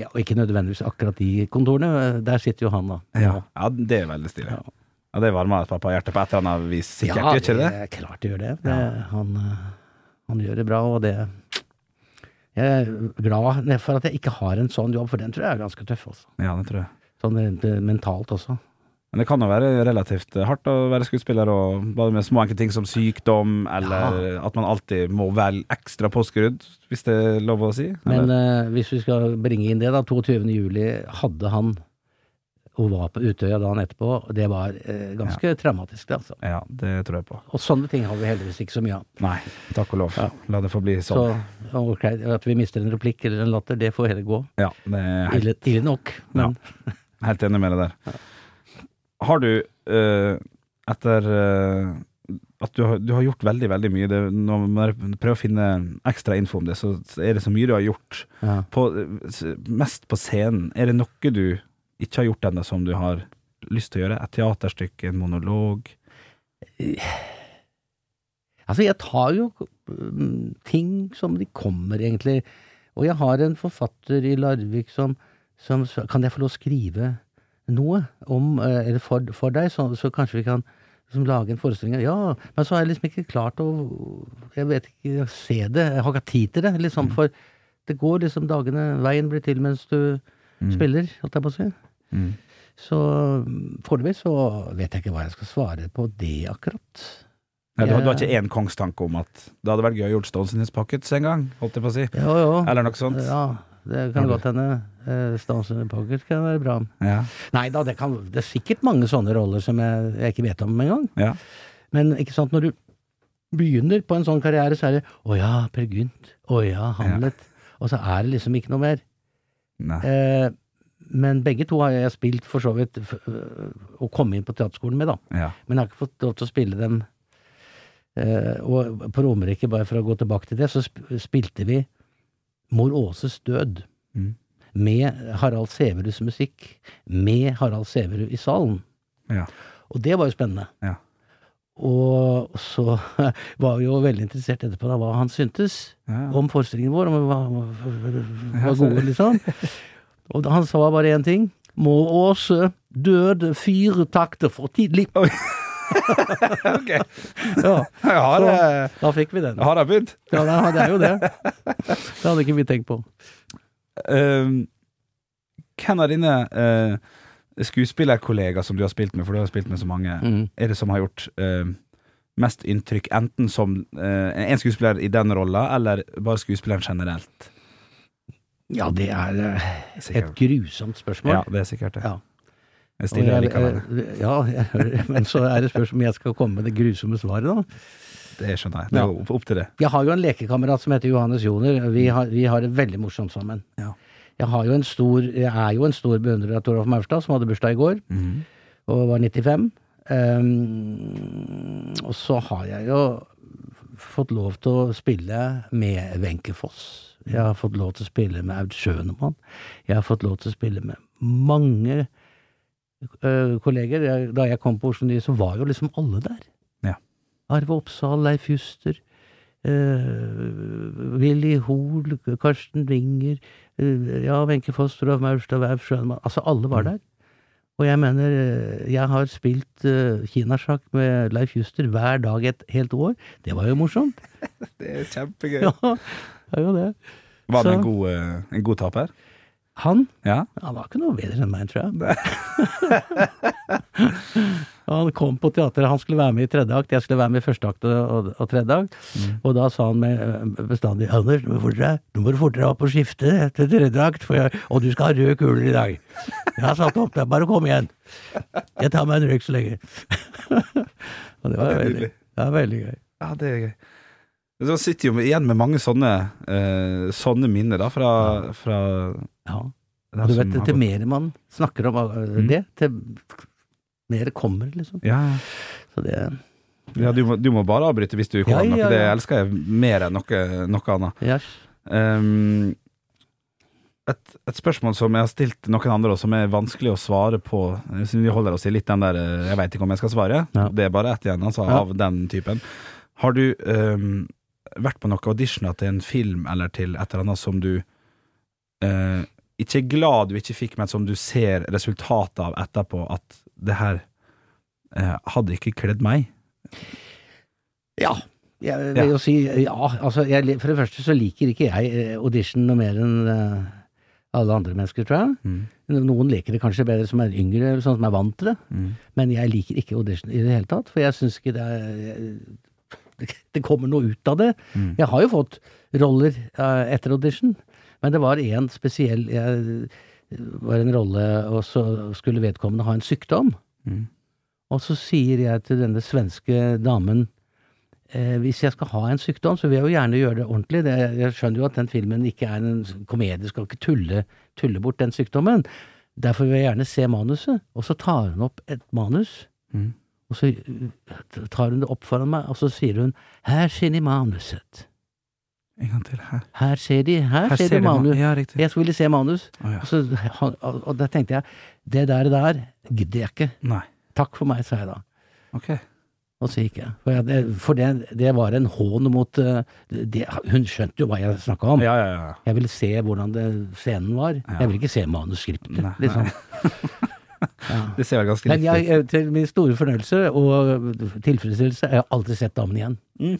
[SPEAKER 2] ja, og ikke nødvendigvis akkurat de kontorene, eh, der sitter jo han, da.
[SPEAKER 1] Ja, ja det er veldig stilig.
[SPEAKER 2] Ja.
[SPEAKER 1] Ja, det varmer et par på hjertet på et eller annet vis, sikkert, gjør ikke det?
[SPEAKER 2] er klart det gjør det. det han, eh, han gjør det bra, og det Jeg er glad for at jeg ikke har en sånn jobb, for den tror jeg er ganske tøff, altså.
[SPEAKER 1] Ja, det tror jeg.
[SPEAKER 2] Sånn rent eh, mentalt også.
[SPEAKER 1] Men det kan jo være relativt hardt å være skuespiller, og bare med små enkle ting som sykdom, eller at man alltid må være ekstra påskrudd, hvis det er lov å si.
[SPEAKER 2] Men
[SPEAKER 1] eller?
[SPEAKER 2] eh, hvis vi skal bringe inn det, da. 22. juli hadde han og var på Utøya dagen etterpå. og Det var eh, ganske traumatisk, det, altså.
[SPEAKER 1] Ja, det tror jeg på.
[SPEAKER 2] Og sånne ting har vi heldigvis ikke så mye av.
[SPEAKER 1] Nei, takk og lov. La det få bli
[SPEAKER 2] Så
[SPEAKER 1] sånn.
[SPEAKER 2] ok, at vi mister en replikk eller en latter, det får heller gå.
[SPEAKER 1] Ja, det er helt,
[SPEAKER 2] Ille, ille nok, men
[SPEAKER 1] helt enig med deg der. Har du, eh, etter eh, at du har, du har gjort veldig, veldig mye, det, når man prøver å finne ekstra info om det, så er det så mye du har gjort,
[SPEAKER 2] ja.
[SPEAKER 1] på, s- mest på scenen, er det noe du ikke har gjort ennå som du har lyst til å gjøre? Et teaterstykke, en monolog?
[SPEAKER 2] Altså, jeg tar jo mm, ting som de kommer, egentlig. Og jeg har en forfatter i Larvik som, som sa, Kan jeg få lov å skrive noe om, eh, eller for, for deg, så, så kanskje vi kan liksom lage en forestilling? Ja, men så har jeg liksom ikke klart å Jeg vet ikke å se det. Jeg har ikke hatt tid til det, liksom. For det går liksom dagene Veien blir til mens du
[SPEAKER 1] Mm.
[SPEAKER 2] spiller, holdt jeg på å si. Så mm, foreløpig så vet jeg ikke hva jeg skal svare på det, akkurat.
[SPEAKER 1] Nei, du, har- du har
[SPEAKER 2] Jeg-
[SPEAKER 1] ikke én kongstanke om at det hadde vært gøy å gjøre Stones in his pockets en gang, holdt jeg på å si?
[SPEAKER 2] Jo, jo.
[SPEAKER 1] Eller noe sånt?
[SPEAKER 2] Ja, det kan godt hende. Eh, Stones in the Pocket kan være bra.
[SPEAKER 1] Ja.
[SPEAKER 2] Nei da, det, kan, det er sikkert mange sånne roller som jeg, jeg ikke vet om engang.
[SPEAKER 1] ja.
[SPEAKER 2] Men ikke sant, når du begynner på en sånn karriere, så er det 'Å ja, Per Gynt'. 'Å ja, Hamlet'. Og så er det liksom ikke noe mer.
[SPEAKER 1] Nei.
[SPEAKER 2] Eh, men begge to har jeg spilt for så vidt f øh, og kom inn på teaterskolen med, da.
[SPEAKER 1] Ja.
[SPEAKER 2] Men jeg har ikke fått lov til å spille dem. Eh, og på Romerike, bare for å gå tilbake til det, så sp- spilte vi Mor Åses død
[SPEAKER 1] Mm.
[SPEAKER 2] med Harald Sæveruds musikk, med Harald Sæverud i salen.
[SPEAKER 1] Ja.
[SPEAKER 2] Og det var jo spennende.
[SPEAKER 1] Ja.
[SPEAKER 2] Og så var vi jo veldig interessert etterpå da hva han syntes
[SPEAKER 1] Ja.
[SPEAKER 2] om forestillingen vår, om vi var, var,
[SPEAKER 1] Ja,
[SPEAKER 2] var
[SPEAKER 1] så-
[SPEAKER 2] gode, liksom. Og da han sa bare én ting. Må Åse døde fire takter for tidlig.
[SPEAKER 1] Ok.
[SPEAKER 2] Ja,
[SPEAKER 1] Jeg har,
[SPEAKER 2] Så-
[SPEAKER 1] eh,
[SPEAKER 2] da fikk vi den.
[SPEAKER 1] jeg har avbud.
[SPEAKER 2] Ja, det er- det er jo det. Det hadde ikke vi tenkt på.
[SPEAKER 1] Um, hvem av dine eh, skuespillerkollegaer som du har spilt med, for du har spilt med så mange,
[SPEAKER 2] Mm.
[SPEAKER 1] er det som har gjort eh, mest inntrykk, enten som eh, en skuespiller i den rolla, eller bare skuespilleren generelt?
[SPEAKER 2] Ja, det er eh, et
[SPEAKER 1] Sikkert.
[SPEAKER 2] grusomt spørsmål.
[SPEAKER 1] Ja, det er sikkert det.
[SPEAKER 2] Ja.
[SPEAKER 1] Jeg
[SPEAKER 2] Og
[SPEAKER 1] stiller deg
[SPEAKER 2] jeg-
[SPEAKER 1] likevel.
[SPEAKER 2] eh, Ja, jeg hører, men så er det spørsmål om jeg skal komme med det grusomme svaret, da.
[SPEAKER 1] Det skjønner jeg. Det er opp, opp til det.
[SPEAKER 2] Jeg har jo en lekekamerat som heter Johannes Joner. Vi har, vi har det veldig morsomt sammen.
[SPEAKER 1] Ja.
[SPEAKER 2] Jeg, har jo en stor, jeg er jo en stor beundrer av Torolf Maurstad, som hadde bursdag i går, og var 95. Um, og så har jeg jo fått lov til å spille med Wenche Foss. Jeg har fått lov til å spille med Aud Schønemann. Jeg har fått lov til å spille med mange ø, kolleger. Jeg, da jeg kom på Oslo Nye, så var jo liksom alle der.
[SPEAKER 1] Ja.
[SPEAKER 2] Arve Oppsal, Leif Juster, eh, Willy Hoel, Karsten Winger, eh, ja, Wenche Foss, Toralf Maurstad, Aud Schønemann Altså, alle var der. Og jeg mener, eh, jeg har spilt eh, kinasjakk med Leif Juster hver dag et helt år. Det var jo morsomt.
[SPEAKER 1] Det er kjempegøy.
[SPEAKER 2] Ja, det er jo det.
[SPEAKER 1] Var han
[SPEAKER 2] Så-
[SPEAKER 1] en god, eh, en god taper?
[SPEAKER 2] Han
[SPEAKER 1] Ja.
[SPEAKER 2] Han var ikke noe bedre enn meg, tror jeg. han kom på teateret, han skulle være med i tredje akt, jeg skulle være med i første akt og, og, og tredje akt.
[SPEAKER 1] Mm.
[SPEAKER 2] Og da sa han med, eh, bestandig 'Anders, nå må du forte deg, nå må du forte deg opp og skifte til tredje akt, for jeg, og du skal ha røde kuler i dag'. Jeg har satt opp der, bare kom igjen. Jeg tar meg en røyk så lenge. og det
[SPEAKER 1] Ja, det er
[SPEAKER 2] var veldig,
[SPEAKER 1] nydelig.
[SPEAKER 2] det var veldig gøy.
[SPEAKER 1] Ja, det er gøy. Så sitter jo med- igjen med mange sånne, eh, sånne minner da, fra, fra
[SPEAKER 2] Ja.
[SPEAKER 1] dem
[SPEAKER 2] Og du
[SPEAKER 1] som
[SPEAKER 2] vet,
[SPEAKER 1] har
[SPEAKER 2] til
[SPEAKER 1] gått- Mm.
[SPEAKER 2] mer man snakker om eh, det, til mer kommer, liksom.
[SPEAKER 1] Ja, ja.
[SPEAKER 2] Så det
[SPEAKER 1] Ja, du, må, du må bare avbryte hvis du ikke har
[SPEAKER 2] Ja,
[SPEAKER 1] noe.
[SPEAKER 2] ja,
[SPEAKER 1] Det
[SPEAKER 2] ja.
[SPEAKER 1] elsker jeg mer enn noe, noe annet.
[SPEAKER 2] Yes.
[SPEAKER 1] Ehm, et, et spørsmål som jeg har stilt noen andre, og som er vanskelig å svare på Siden vi holder oss i litt den der eh, 'jeg veit ikke om jeg skal svare',
[SPEAKER 2] Ja.
[SPEAKER 1] det er bare ett igjen, altså,
[SPEAKER 2] Ja.
[SPEAKER 1] av den typen. Har du ehm, vært på noen auditioner til en film eller til et eller annet som du eh, ikke er glad du ikke fikk, men som du ser resultatet av etterpå, at det her eh, hadde ikke kledd meg?
[SPEAKER 2] Ja. Jeg vil jo si ja. Altså, jeg, li- for det første så liker ikke jeg eh, audition noe mer enn eh, alle andre mennesker, tror jeg. Noen liker det kanskje bedre som er yngre, eller sånn som er vant til det.
[SPEAKER 1] Mm.
[SPEAKER 2] Men jeg liker ikke audition i det hele tatt, for jeg syns ikke det er eh, Det kommer noe ut av det.
[SPEAKER 1] Mm.
[SPEAKER 2] Jeg har jo fått roller eh, etter audition, men det var én spesiell jeg, Det var en rolle, og så skulle vedkommende ha en sykdom.
[SPEAKER 1] Mm.
[SPEAKER 2] Og så sier jeg til denne svenske damen Eh, hvis jeg skal ha en sykdom, så vil jeg jo gjerne gjøre det ordentlig. Det, jeg skjønner jo at den filmen ikke er en komedie, skal ikke tulle, tulle bort den sykdommen. Derfor vil jeg gjerne se manuset. Og så tar hun opp et manus.
[SPEAKER 1] Mm.
[SPEAKER 2] Og så uh, tar hun det opp foran meg, og så sier hun 'Her ser de manuset'.
[SPEAKER 1] En gang til. Her,
[SPEAKER 2] Her ser de, her, ser de
[SPEAKER 1] man-
[SPEAKER 2] manus.
[SPEAKER 1] Ja, riktig.
[SPEAKER 2] Jeg ville se manus.
[SPEAKER 1] Å, ja.
[SPEAKER 2] Og, så, han- og, og da tenkte jeg 'Det der, der gidder jeg ikke'.
[SPEAKER 1] Nei.
[SPEAKER 2] Takk for meg, sa jeg da.
[SPEAKER 1] Ok.
[SPEAKER 2] Og så gikk jeg. For, jeg, det- for det, det var en hån mot eh, det, Hun skjønte jo hva jeg snakka om.
[SPEAKER 1] Ja, ja, ja.
[SPEAKER 2] Jeg ville se hvordan det, scenen var.
[SPEAKER 1] Ja.
[SPEAKER 2] Jeg ville ikke se manuskriptet,
[SPEAKER 1] Nei,
[SPEAKER 2] liksom. Ja.
[SPEAKER 1] Det ser vel ganske
[SPEAKER 2] Men
[SPEAKER 1] likt
[SPEAKER 2] jeg,
[SPEAKER 1] ut.
[SPEAKER 2] jeg- til min store fornøyelse og tilfredsstillelse, jeg har aldri sett damen igjen.
[SPEAKER 1] Mm.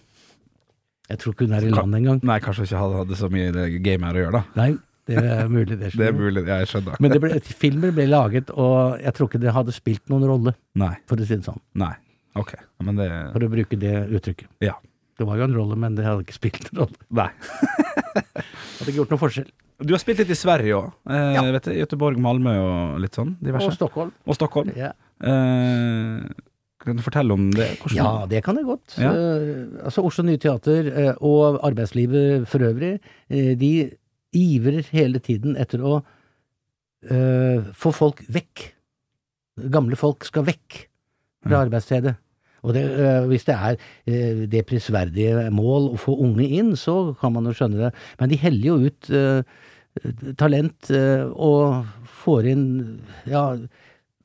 [SPEAKER 2] Jeg tror ikke hun er i
[SPEAKER 1] Kan-
[SPEAKER 2] land engang.
[SPEAKER 1] Nei, kanskje ikke hadde, hadde så mye i det gamet her å gjøre, da.
[SPEAKER 2] Nei, det er mulig, det.
[SPEAKER 1] Det er
[SPEAKER 2] skjønner du.
[SPEAKER 1] mulig, ja, jeg skjønner.
[SPEAKER 2] Mm. Men det ble, filmen ble laget, og jeg tror ikke det hadde spilt noen rolle,
[SPEAKER 1] Nei,
[SPEAKER 2] for å si det sånn.
[SPEAKER 1] nei. Ok. Ja, Men det
[SPEAKER 2] For å bruke det uttrykket.
[SPEAKER 1] Ja.
[SPEAKER 2] Det var jo en rolle, men det hadde ikke spilt noen rolle.
[SPEAKER 1] Nei.
[SPEAKER 2] Hadde ikke gjort noen forskjell.
[SPEAKER 1] Du har spilt litt i Sverige òg. Eh,
[SPEAKER 2] Ja.
[SPEAKER 1] vet du, Göteborg, Malmö og litt sånn diverse.
[SPEAKER 2] Og Stockholm.
[SPEAKER 1] Og Stockholm.
[SPEAKER 2] Ja.
[SPEAKER 1] Eh, kan du fortelle om det? Hvordan-
[SPEAKER 2] Ja, det kan jeg godt.
[SPEAKER 1] Ja.
[SPEAKER 2] Eh, altså Oslo Nye Teater eh, og arbeidslivet for øvrig, eh, de ivrer hele tiden etter å eh, få folk vekk. Gamle folk skal vekk fra arbeidsstedet. Og det, eh, hvis det er eh, det prisverdige mål å få unge inn, så kan man jo skjønne det. Men de heller jo ut eh, talent eh, og får inn ja,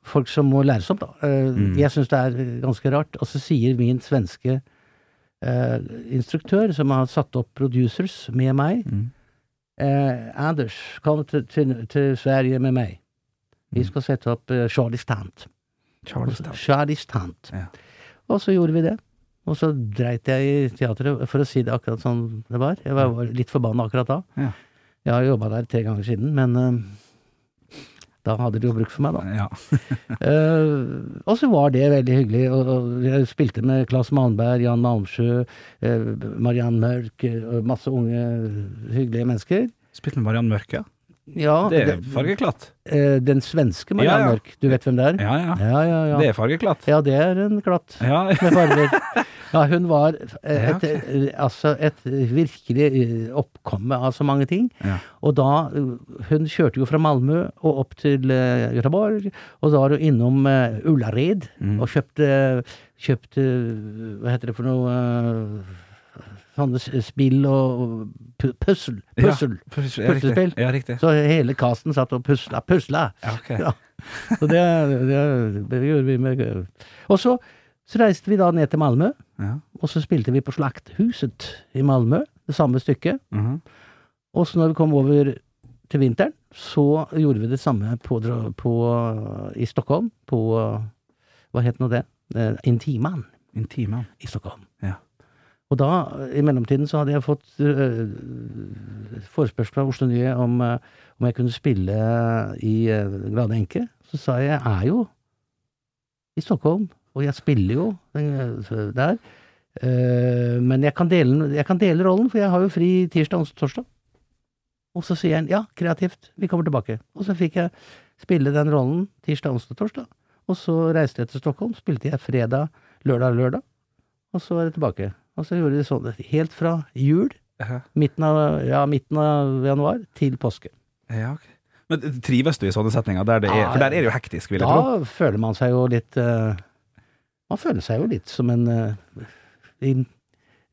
[SPEAKER 2] folk som må læres opp, da. Eh,
[SPEAKER 1] Mm.
[SPEAKER 2] Jeg syns det er ganske rart. Og så sier min svenske eh, instruktør, som har satt opp producers med meg,
[SPEAKER 1] Mm.
[SPEAKER 2] eh, Anders, kom til, til, til Sverige med meg. Vi
[SPEAKER 1] Mm.
[SPEAKER 2] skal sette opp eh, Charlie Stant.
[SPEAKER 1] Charles Town.
[SPEAKER 2] Charlie Stant.
[SPEAKER 1] Ja.
[SPEAKER 2] Og så gjorde vi det. Og så dreit jeg i teatret, for å si det akkurat sånn det var. Jeg var var litt forbanna akkurat da.
[SPEAKER 1] Ja.
[SPEAKER 2] Jeg har jobba der tre ganger siden, men eh, da hadde de jo bruk for meg, da.
[SPEAKER 1] Ja.
[SPEAKER 2] Eh, og så var det veldig hyggelig. Og, og jeg spilte med Claes Malmberg, Jan Malmsjø, eh, Mariann Mørk, eh, og masse unge, hyggelige mennesker.
[SPEAKER 1] Spilt med Mariann Mørke.
[SPEAKER 2] Ja,
[SPEAKER 1] Det er
[SPEAKER 2] det-
[SPEAKER 1] fargeklatt.
[SPEAKER 2] eh, den svenske Mariann
[SPEAKER 1] Ja, ja.
[SPEAKER 2] Mørk. Du vet hvem det er?
[SPEAKER 1] Ja, ja.
[SPEAKER 2] Ja, ja, ja.
[SPEAKER 1] Det er fargeklatt.
[SPEAKER 2] ja, det er en glatt
[SPEAKER 1] Ja,
[SPEAKER 2] med farger. Ja, hun var eh,
[SPEAKER 1] Ja,
[SPEAKER 2] et, eh, altså et virkelig eh, oppkomme av så mange ting.
[SPEAKER 1] Ja.
[SPEAKER 2] Og da eh, Hun kjørte jo fra Malmö og opp til eh, Göteborg, og da var hun innom eh, Ullared
[SPEAKER 1] Mm.
[SPEAKER 2] og kjøpte, kjøpte Hva heter det for noe eh, Sånne s- spill og pu- puzzle.
[SPEAKER 1] Ja.
[SPEAKER 2] puzzle.
[SPEAKER 1] ja riktig.
[SPEAKER 2] Puslespill.
[SPEAKER 1] Ja, riktig.
[SPEAKER 2] Så hele casten satt og pusla, pusla!
[SPEAKER 1] Ja, ok.
[SPEAKER 2] Ja. Og det, det, det gjorde vi med Og så, så reiste vi da ned til Malmö,
[SPEAKER 1] Ja.
[SPEAKER 2] og så spilte vi på Slakthuset i Malmö, det samme stykket.
[SPEAKER 1] Mhm.
[SPEAKER 2] Og så når vi kom over til vinteren, så gjorde vi det samme på, dra- på, i Stockholm, på Hva het nå det? Eh, Intiman
[SPEAKER 1] Intima.
[SPEAKER 2] i Stockholm.
[SPEAKER 1] Ja.
[SPEAKER 2] Og da, eh, i mellomtiden, så hadde jeg fått øh, forespørsel fra Oslo Nye om, øh, om jeg kunne spille i øh, Glade enke. Så sa jeg jeg er jo i Stockholm, og jeg spiller jo øh, der. Øh, men jeg kan, dele, jeg kan dele rollen, for jeg har jo fri tirsdag, onsdag, torsdag. Og så sier han ja, kreativt, vi kommer tilbake. Og så fikk jeg spille den rollen tirsdag, onsdag, torsdag. Og så reiste jeg til Stockholm, spilte jeg fredag, lørdag, lørdag. Og så var det tilbake. Og så gjorde de sånn helt fra jul,
[SPEAKER 1] Ja.
[SPEAKER 2] midten av, ja, midten av januar, til påske.
[SPEAKER 1] Ja, ok. Men trives du i sånne setninger? Der det er, for der er det jo hektisk, vil jeg tro.
[SPEAKER 2] Da føler man seg jo litt eh, Man føler seg jo litt som en eh, en-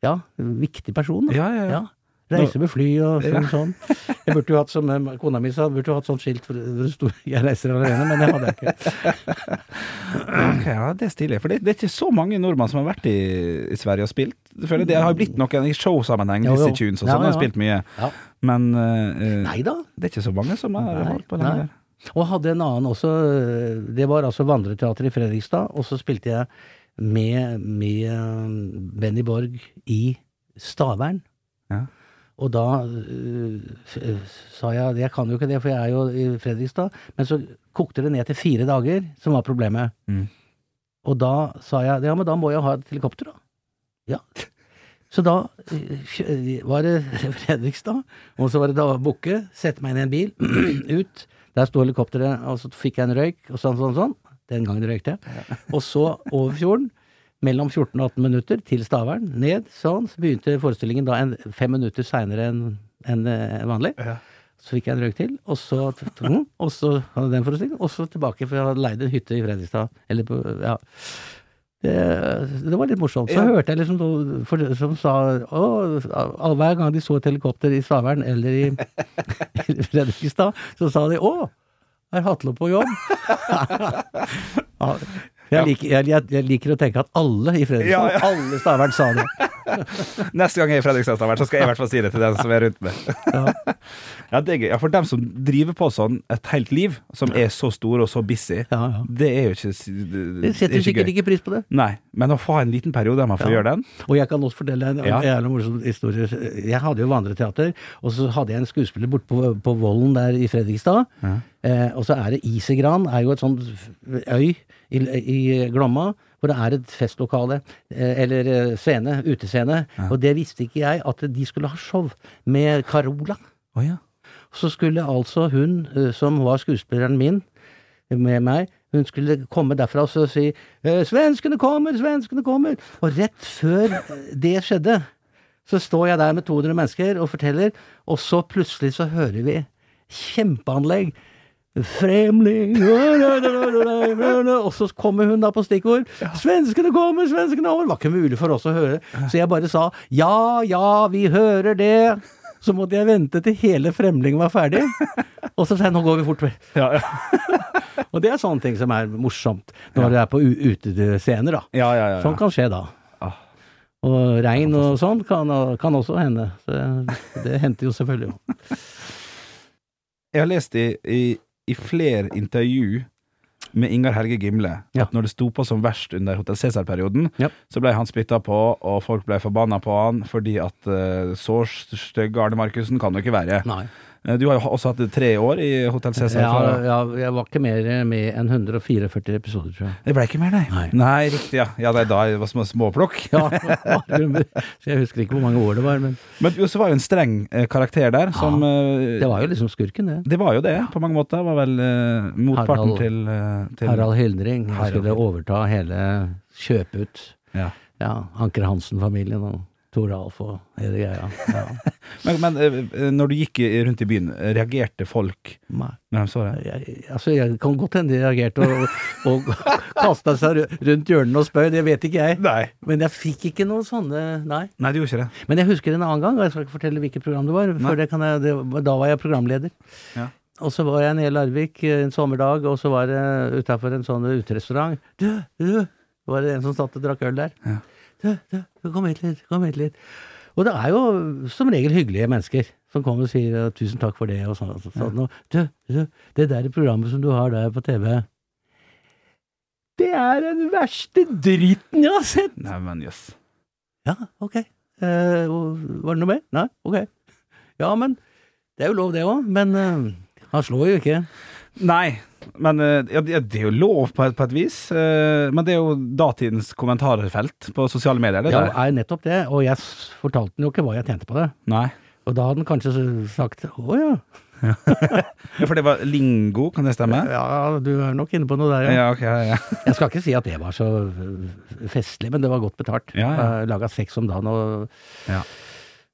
[SPEAKER 2] ja, viktig person. Da.
[SPEAKER 1] Ja, ja, ja.
[SPEAKER 2] Ja. Reise med fly og sånn. sånn. Jeg burde jo hatt, som eh, kona mi sa, burde jo hatt sånt skilt hvor det sto 'Jeg reiser alene', men det hadde jeg ikke.
[SPEAKER 1] Ok, ja, det er stilig. For det, det er ikke så mange nordmenn som har vært i, i Sverige og spilt. Jeg føler det har blitt noen i showsammenheng,
[SPEAKER 2] Jo, jo.
[SPEAKER 1] Dizzie Tunes og
[SPEAKER 2] Ja,
[SPEAKER 1] sånn, har
[SPEAKER 2] ja.
[SPEAKER 1] spilt mye.
[SPEAKER 2] Ja.
[SPEAKER 1] Men eh, eh,
[SPEAKER 2] Nei da.
[SPEAKER 1] det er ikke så mange som har
[SPEAKER 2] Nei,
[SPEAKER 1] vært på
[SPEAKER 2] nei.
[SPEAKER 1] den der.
[SPEAKER 2] Og hadde en annen også. eh, Det var altså Vandreteatret i Fredrikstad, og så spilte jeg med, med eh, Benny Borg i Stavern.
[SPEAKER 1] Ja.
[SPEAKER 2] Og da eh, f- eh, sa jeg at jeg kan jo ikke det, for jeg er jo i Fredrikstad. Men så kokte det ned til fire dager, som var problemet.
[SPEAKER 1] Mm.
[SPEAKER 2] Og da sa jeg ja, men da må jeg ha et helikopter, da. Ja. Så da eh, kjø- var det Fredrikstad, og så var det da Bukke. Sette meg inn i en bil, ut. Der sto helikopteret, og så fikk jeg en røyk, og sånn, sånn, sånn. Den gangen røykte jeg. Og så over fjorden, mellom 14 og 18 minutter, til Stavern. Ned, sånn. Så begynte forestillingen da en, fem minutter seinere enn enn, eh, vanlig. Så fikk jeg en røyk til, og så, og så hadde jeg den forestillingen, og så tilbake, for jeg hadde leid en hytte i Fredrikstad. Eller på, ja. Det, det var litt morsomt. Så
[SPEAKER 1] Ja.
[SPEAKER 2] hørte jeg liksom noen for- som sa å, all- Hver gang de så et helikopter i Stavern eller i, i Fredrikstad, så sa de 'Å, er Hatlo på jobb?' ja, jeg, liker, jeg, jeg, jeg liker å tenke at alle i Fredrikstad,
[SPEAKER 1] Ja, ja.
[SPEAKER 2] alle i Stavern sa det.
[SPEAKER 1] Neste gang jeg er i Fredrikstad, Stavern, så skal jeg i hvert fall si det til den som er rundt meg.
[SPEAKER 2] Ja.
[SPEAKER 1] Ja, det er gøy. Ja, for dem som driver på sånn et helt liv, som er så store og så busy,
[SPEAKER 2] Ja, ja.
[SPEAKER 1] det er jo ikke, s- det,
[SPEAKER 2] De
[SPEAKER 1] det er
[SPEAKER 2] setter
[SPEAKER 1] ikke
[SPEAKER 2] sikkert
[SPEAKER 1] gøy.
[SPEAKER 2] ikke pris på det.
[SPEAKER 1] Nei, men å få en liten periode der man får
[SPEAKER 2] Ja.
[SPEAKER 1] gjøre den
[SPEAKER 2] Og jeg kan også fortelle en
[SPEAKER 1] Ja.
[SPEAKER 2] en jævla morsom historie. Jeg hadde jo vandreteater, og så hadde jeg en skuespiller borte på, på Vollen der i Fredrikstad. Eh, og så er det Isegran, er jo et sånt f- øy i, i Glomma, hvor det er et festlokale, eh, eller eh, scene, utescene. Og det visste ikke jeg, at de skulle ha show med Carola.
[SPEAKER 1] Å ja.
[SPEAKER 2] Så skulle altså hun, eh, som var skuespilleren min, med meg, hun skulle komme derfra og så si eh, 'Svenskene kommer! Svenskene kommer!' Og rett før det skjedde, så står jeg der med 200 mennesker og forteller, og så plutselig så hører vi kjempeanlegg. Fremling Og så kommer hun da på stikkord. 'Svenskene kommer! Svenskene kommer!' Det var ikke mulig for oss å høre. Så jeg bare sa 'ja, ja, vi hører det'. Så måtte jeg vente til hele Fremling var ferdig. Og så sa jeg 'nå går vi fort vekk'.
[SPEAKER 1] Ja, ja.
[SPEAKER 2] Og det er sånne ting som er morsomt når det er på u- utescener, da.
[SPEAKER 1] Ja, ja, ja, ja.
[SPEAKER 2] Sånn kan skje da.
[SPEAKER 1] Ah.
[SPEAKER 2] Og regn og sånn kan, kan også hende. Så det- det hendte jo selvfølgelig òg.
[SPEAKER 1] Jeg har lest i, i, i flere intervju med Ingar Helge Gimle
[SPEAKER 2] Ja.
[SPEAKER 1] at når det sto på som verst under Hotell Cæsar-perioden,
[SPEAKER 2] Ja.
[SPEAKER 1] så ble han spytta på, og folk ble forbanna på han fordi at eh, så stygg Arne Markussen kan du ikke være.
[SPEAKER 2] Nei.
[SPEAKER 1] Eh, Du har jo også hatt tre år i Hotell Cæsar.
[SPEAKER 2] Ja,
[SPEAKER 1] for-
[SPEAKER 2] ja, jeg var ikke mer med enn 144 episoder, tror jeg.
[SPEAKER 1] Det ble ikke mer, nei.
[SPEAKER 2] Nei.
[SPEAKER 1] riktig, ja. Ja, det er da jeg var små, småplukk.
[SPEAKER 2] Ja, så jeg husker ikke hvor mange år det var, men
[SPEAKER 1] Men du også var jo en streng eh, karakter der, som eh,
[SPEAKER 2] det var jo liksom skurken, det.
[SPEAKER 1] det var jo det, på mange måter. Var vel eh, motparten
[SPEAKER 2] Harald-
[SPEAKER 1] til, eh, til
[SPEAKER 2] Harald Hyldring
[SPEAKER 1] Harald.
[SPEAKER 2] skulle overta hele kjøpe ut
[SPEAKER 1] Ja.
[SPEAKER 2] ja, Anker Hansen-familien og Tor Alf og hele greia. Ja.
[SPEAKER 1] Men, men eh, når du gikk i- rundt i byen, eh, reagerte folk
[SPEAKER 2] Nei.
[SPEAKER 1] når de så det?
[SPEAKER 2] Jeg, altså, jeg kan godt hende de reagerte og, og kasta seg ru- rundt hjørnene og spøy, det vet ikke jeg.
[SPEAKER 1] Nei.
[SPEAKER 2] Men jeg fikk ikke noen sånne, nei.
[SPEAKER 1] Nei, du gjorde ikke det.
[SPEAKER 2] Men jeg husker en annen gang, og jeg skal ikke fortelle hvilket program det var,
[SPEAKER 1] Nei.
[SPEAKER 2] for det kan jeg, det, var- da var jeg programleder.
[SPEAKER 1] Ja.
[SPEAKER 2] Og så var jeg nede i Larvik eh, en sommerdag, og så var det utafor en sånn uterestaurant. Du, du! Det var det en som satt og drakk øl der.
[SPEAKER 1] Ja.
[SPEAKER 2] Du, du, du, kom hit litt, kom hit litt. Og det er jo som regel hyggelige mennesker som kommer og sier eh, 'tusen takk for det' og sånn. Så, sånn. Og, du, du, det der programmet som du har der på TV Det er den verste dritten jeg har sett!
[SPEAKER 1] Nei, men jøss.
[SPEAKER 2] Ja, ok. Eh, og- var det noe mer? Nei? Ok. Ja, men Det er jo lov, det òg. Men eh, han slår jo ikke.
[SPEAKER 1] Nei, men eh, ja, det det er jo lov på et, på et vis. eh, Men det er jo datidens kommentarfelt på sosiale medier, det
[SPEAKER 2] Ja,
[SPEAKER 1] der.
[SPEAKER 2] er nettopp det. Og jeg s- fortalte den jo ikke hva jeg tjente på det.
[SPEAKER 1] Nei.
[SPEAKER 2] Og da hadde han kanskje s- sagt å ja,
[SPEAKER 1] Ja, for det var lingo, kan det stemme?
[SPEAKER 2] ja, du er nok inne på noe der, ja.
[SPEAKER 1] Ja, ok, ja, ja.
[SPEAKER 2] Jeg skal ikke si at det var så øh, festlig, men det var godt betalt.
[SPEAKER 1] Ja, ja.
[SPEAKER 2] Laga seks om dagen og
[SPEAKER 1] Ja.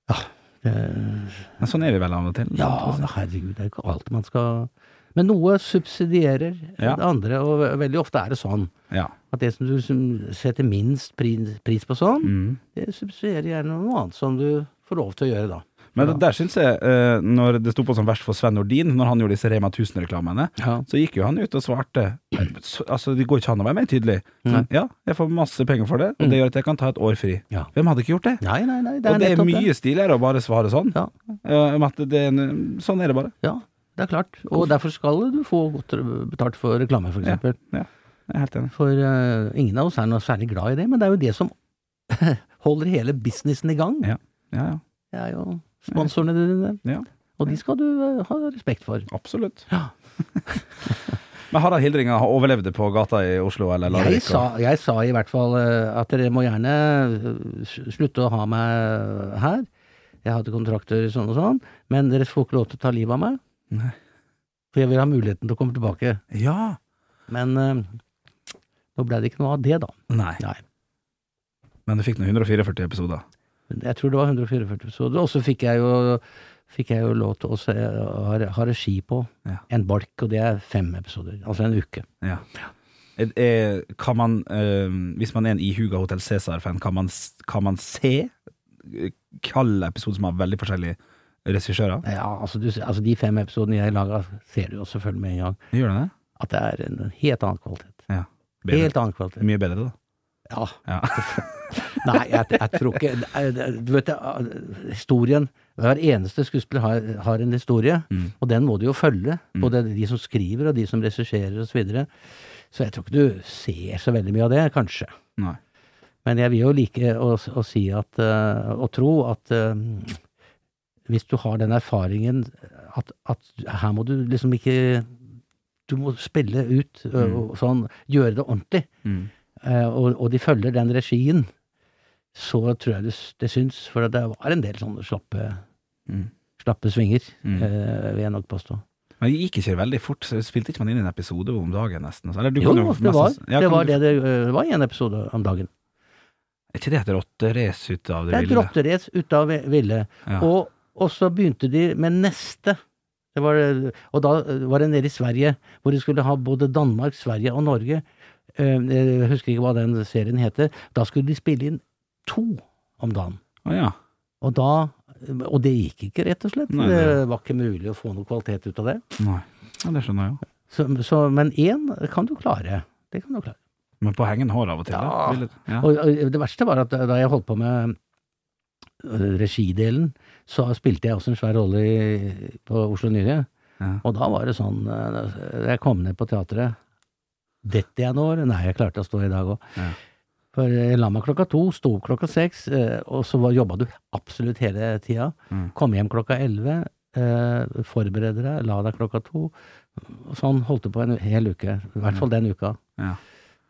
[SPEAKER 2] Ja, det-
[SPEAKER 1] Men sånn er vi vel av og til.
[SPEAKER 2] ja altså, herregud, det er ikke alt man skal Men noe subsidierer
[SPEAKER 1] Ja.
[SPEAKER 2] det andre, og ve- veldig ofte er det sånn.
[SPEAKER 1] Ja.
[SPEAKER 2] At det som du som setter minst pris, pris på sånn,
[SPEAKER 1] Mm.
[SPEAKER 2] det subsidierer gjerne noe annet som du får lov til å gjøre da.
[SPEAKER 1] Men det- der syns jeg, eh, når det sto på som verst for Sven Nordin, når han gjorde disse Rema 1000-reklamene,
[SPEAKER 2] Ja.
[SPEAKER 1] så gikk jo han ut og svarte så, Altså, det går ikke an å være mer tydelig.
[SPEAKER 2] Nei. Mm.
[SPEAKER 1] Ja, jeg får masse penger for det, og det gjør at jeg kan ta et år fri.
[SPEAKER 2] Ja.
[SPEAKER 1] Hvem hadde ikke gjort det?
[SPEAKER 2] Nei, nei, nei. Det er
[SPEAKER 1] og det er
[SPEAKER 2] nettopp
[SPEAKER 1] mye stiligere å bare svare sånn.
[SPEAKER 2] Ja.
[SPEAKER 1] Eh, om at det er en, sånn er det bare.
[SPEAKER 2] Ja, det er klart. Og derfor skal du få godt betalt for reklame, for
[SPEAKER 1] Ja.
[SPEAKER 2] eksempel.
[SPEAKER 1] Ja, jeg er helt enig.
[SPEAKER 2] For eh, ingen av oss er noe særlig glad i det, men det er jo det som holder hele businessen i gang.
[SPEAKER 1] Ja. Ja, ja.
[SPEAKER 2] Det er jo sponsorene dine,
[SPEAKER 1] ja
[SPEAKER 2] og de skal du eh, ha respekt for.
[SPEAKER 1] absolutt.
[SPEAKER 2] Ja.
[SPEAKER 1] Men Harald Hildringa har overlevd det på gata i Oslo eller
[SPEAKER 2] Jeg
[SPEAKER 1] Larvik?
[SPEAKER 2] sa,
[SPEAKER 1] og-
[SPEAKER 2] jeg sa i hvert fall eh, at dere må gjerne eh, slutte å ha meg eh, her. Jeg hadde kontrakter sånn og sånn, men dere får ikke lov til å ta livet av meg.
[SPEAKER 1] Nei.
[SPEAKER 2] For jeg vil ha muligheten til å komme tilbake.
[SPEAKER 1] Ja.
[SPEAKER 2] Men eh, nå ble det ikke noe av det, da.
[SPEAKER 1] Nei.
[SPEAKER 2] Nei.
[SPEAKER 1] Men du fikk nå 144 episoder.
[SPEAKER 2] Jeg tror det var 144 episoder. Og så fikk jeg jo fikk jeg jo lov til å se, ha, ha regi på
[SPEAKER 1] Ja.
[SPEAKER 2] en balk, og det er fem episoder. Altså en uke.
[SPEAKER 1] Ja. Er, er, kan man, eh, hvis man er en ihuga Hotell Cæsar-fan, kan, man s- kan man se eh, kalde episoder som har veldig forskjellige regissører?
[SPEAKER 2] Ja, altså, du, altså De fem episodene jeg laga, ser du jo selvfølgelig med en gang
[SPEAKER 1] Gjør det det?
[SPEAKER 2] at det er en helt annen kvalitet.
[SPEAKER 1] Ja. Bedre.
[SPEAKER 2] Helt annen kvalitet.
[SPEAKER 1] Mye bedre, da.
[SPEAKER 2] Ja.
[SPEAKER 1] Ja.
[SPEAKER 2] Nei, jeg, jeg tror ikke det er- Du vet, det, historien Hver eneste skuespiller har, har en historie,
[SPEAKER 1] Mm.
[SPEAKER 2] og den må du jo følge. Både de som skriver, og de som regisserer, osv. Så, videre. så jeg tror ikke du ser så veldig mye av det, kanskje.
[SPEAKER 1] Nei.
[SPEAKER 2] Men jeg vil jo like å, å si at eh, Å tro at eh, hvis du har den erfaringen at, at her må du liksom ikke Du må spille ut ø,
[SPEAKER 1] Mm.
[SPEAKER 2] og sånn, gjøre det ordentlig,
[SPEAKER 1] Mm.
[SPEAKER 2] eh, og, og de følger den regien, så tror jeg det, s- det syns. For det var en del sånne slappe,
[SPEAKER 1] Mm.
[SPEAKER 2] slappe svinger,
[SPEAKER 1] Mm.
[SPEAKER 2] eh, vil jeg nok påstå.
[SPEAKER 1] Men det gikk ikke veldig fort, så spilte ikke man inn en episode om dagen, nesten? Altså, Eller du
[SPEAKER 2] Jo,
[SPEAKER 1] kan
[SPEAKER 2] det
[SPEAKER 1] mest-
[SPEAKER 2] var,
[SPEAKER 1] Ja,
[SPEAKER 2] det,
[SPEAKER 1] kan
[SPEAKER 2] var
[SPEAKER 1] du-
[SPEAKER 2] det det ø, var i en episode om dagen.
[SPEAKER 1] Er ikke det et rotterace ut av
[SPEAKER 2] Det
[SPEAKER 1] det
[SPEAKER 2] er et
[SPEAKER 1] ville?
[SPEAKER 2] rotterace ut av ville.
[SPEAKER 1] Ja.
[SPEAKER 2] Og, og så begynte de med neste. Det var, eh, og da var det nede i Sverige, hvor de skulle ha både Danmark, Sverige og Norge. Eh, Jeg husker ikke hva den serien heter. Da skulle de spille inn to om dagen.
[SPEAKER 1] Å, ja.
[SPEAKER 2] Og, da, og det gikk ikke, rett og slett.
[SPEAKER 1] Nei, nei.
[SPEAKER 2] Det var ikke mulig å få noe kvalitet ut av det.
[SPEAKER 1] Nei. ja, det skjønner jeg jo.
[SPEAKER 2] Så, så, men én kan du klare. Det kan du klare.
[SPEAKER 1] Men på hengende hår av og til?
[SPEAKER 2] Ja.
[SPEAKER 1] da. Ville- ja.
[SPEAKER 2] Og, og det verste var at da jeg holdt på med øh, regidelen, så spilte jeg også en svær rolle i, på Oslo Nyhe.
[SPEAKER 1] Ja.
[SPEAKER 2] Og da var det sånn øh, Jeg kom ned på teatret. Detter jeg nå, eller? Nei, jeg klarte å stå i dag òg.
[SPEAKER 1] Ja.
[SPEAKER 2] For jeg la meg klokka to, sto opp klokka seks, øh, og så var- jobba du absolutt hele tida.
[SPEAKER 1] Mm.
[SPEAKER 2] Kom hjem klokka elleve, øh, forberede deg, la deg klokka to. Og sånn holdt det på en hel uke. I hvert fall den uka
[SPEAKER 1] Ja.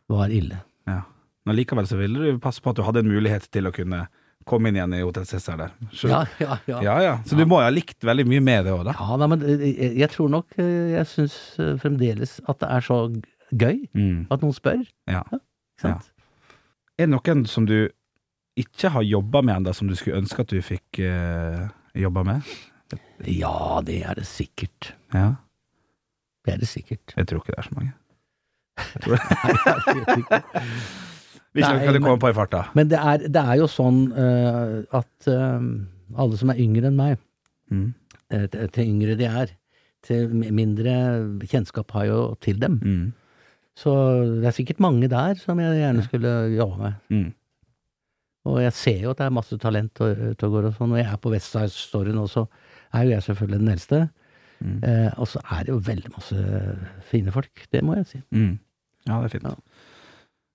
[SPEAKER 2] var ille.
[SPEAKER 1] Ja. Men likevel så ville du passe på at du hadde en mulighet til å kunne komme inn igjen i Hotell Cæsar der. Så,
[SPEAKER 2] Ja, ja, ja.
[SPEAKER 1] ja, ja. Så du må jo ha likt veldig mye med det òg, da.
[SPEAKER 2] Ja, nei, men eh, jeg jeg tror nok eh, Jeg syns eh, fremdeles at det er så g- gøy
[SPEAKER 1] Mm.
[SPEAKER 2] at noen spør.
[SPEAKER 1] Ja.
[SPEAKER 2] Ikke sant?
[SPEAKER 1] Er det noen som du ikke har jobba med ennå, som du skulle ønske at du fikk uh, jobba med?
[SPEAKER 2] Ja. det er det sikkert.
[SPEAKER 1] Ja.
[SPEAKER 2] Det er det sikkert.
[SPEAKER 1] Jeg tror ikke det er så mange.
[SPEAKER 2] Jeg vet ikke.
[SPEAKER 1] Hvis
[SPEAKER 2] Nei,
[SPEAKER 1] noen kan du
[SPEAKER 2] men-
[SPEAKER 1] komme på i farta.
[SPEAKER 2] men det er, det er jo sånn eh, at eh, alle som er yngre enn meg,
[SPEAKER 1] Mm.
[SPEAKER 2] eh, til til yngre de er, til mi- mindre kjennskap har jo til dem.
[SPEAKER 1] Mm.
[SPEAKER 2] Så det er sikkert mange der som jeg gjerne skulle jobba med.
[SPEAKER 1] Mm.
[SPEAKER 2] Og jeg ser jo at det er masse talent og- ute og går og sånn. Når jeg er på Westside Story nå, så er jo jeg selvfølgelig den eldste.
[SPEAKER 1] Mm.
[SPEAKER 2] Eh, og så er det jo veldig masse fine folk. Det må jeg si.
[SPEAKER 1] Mm. Ja, det er fint.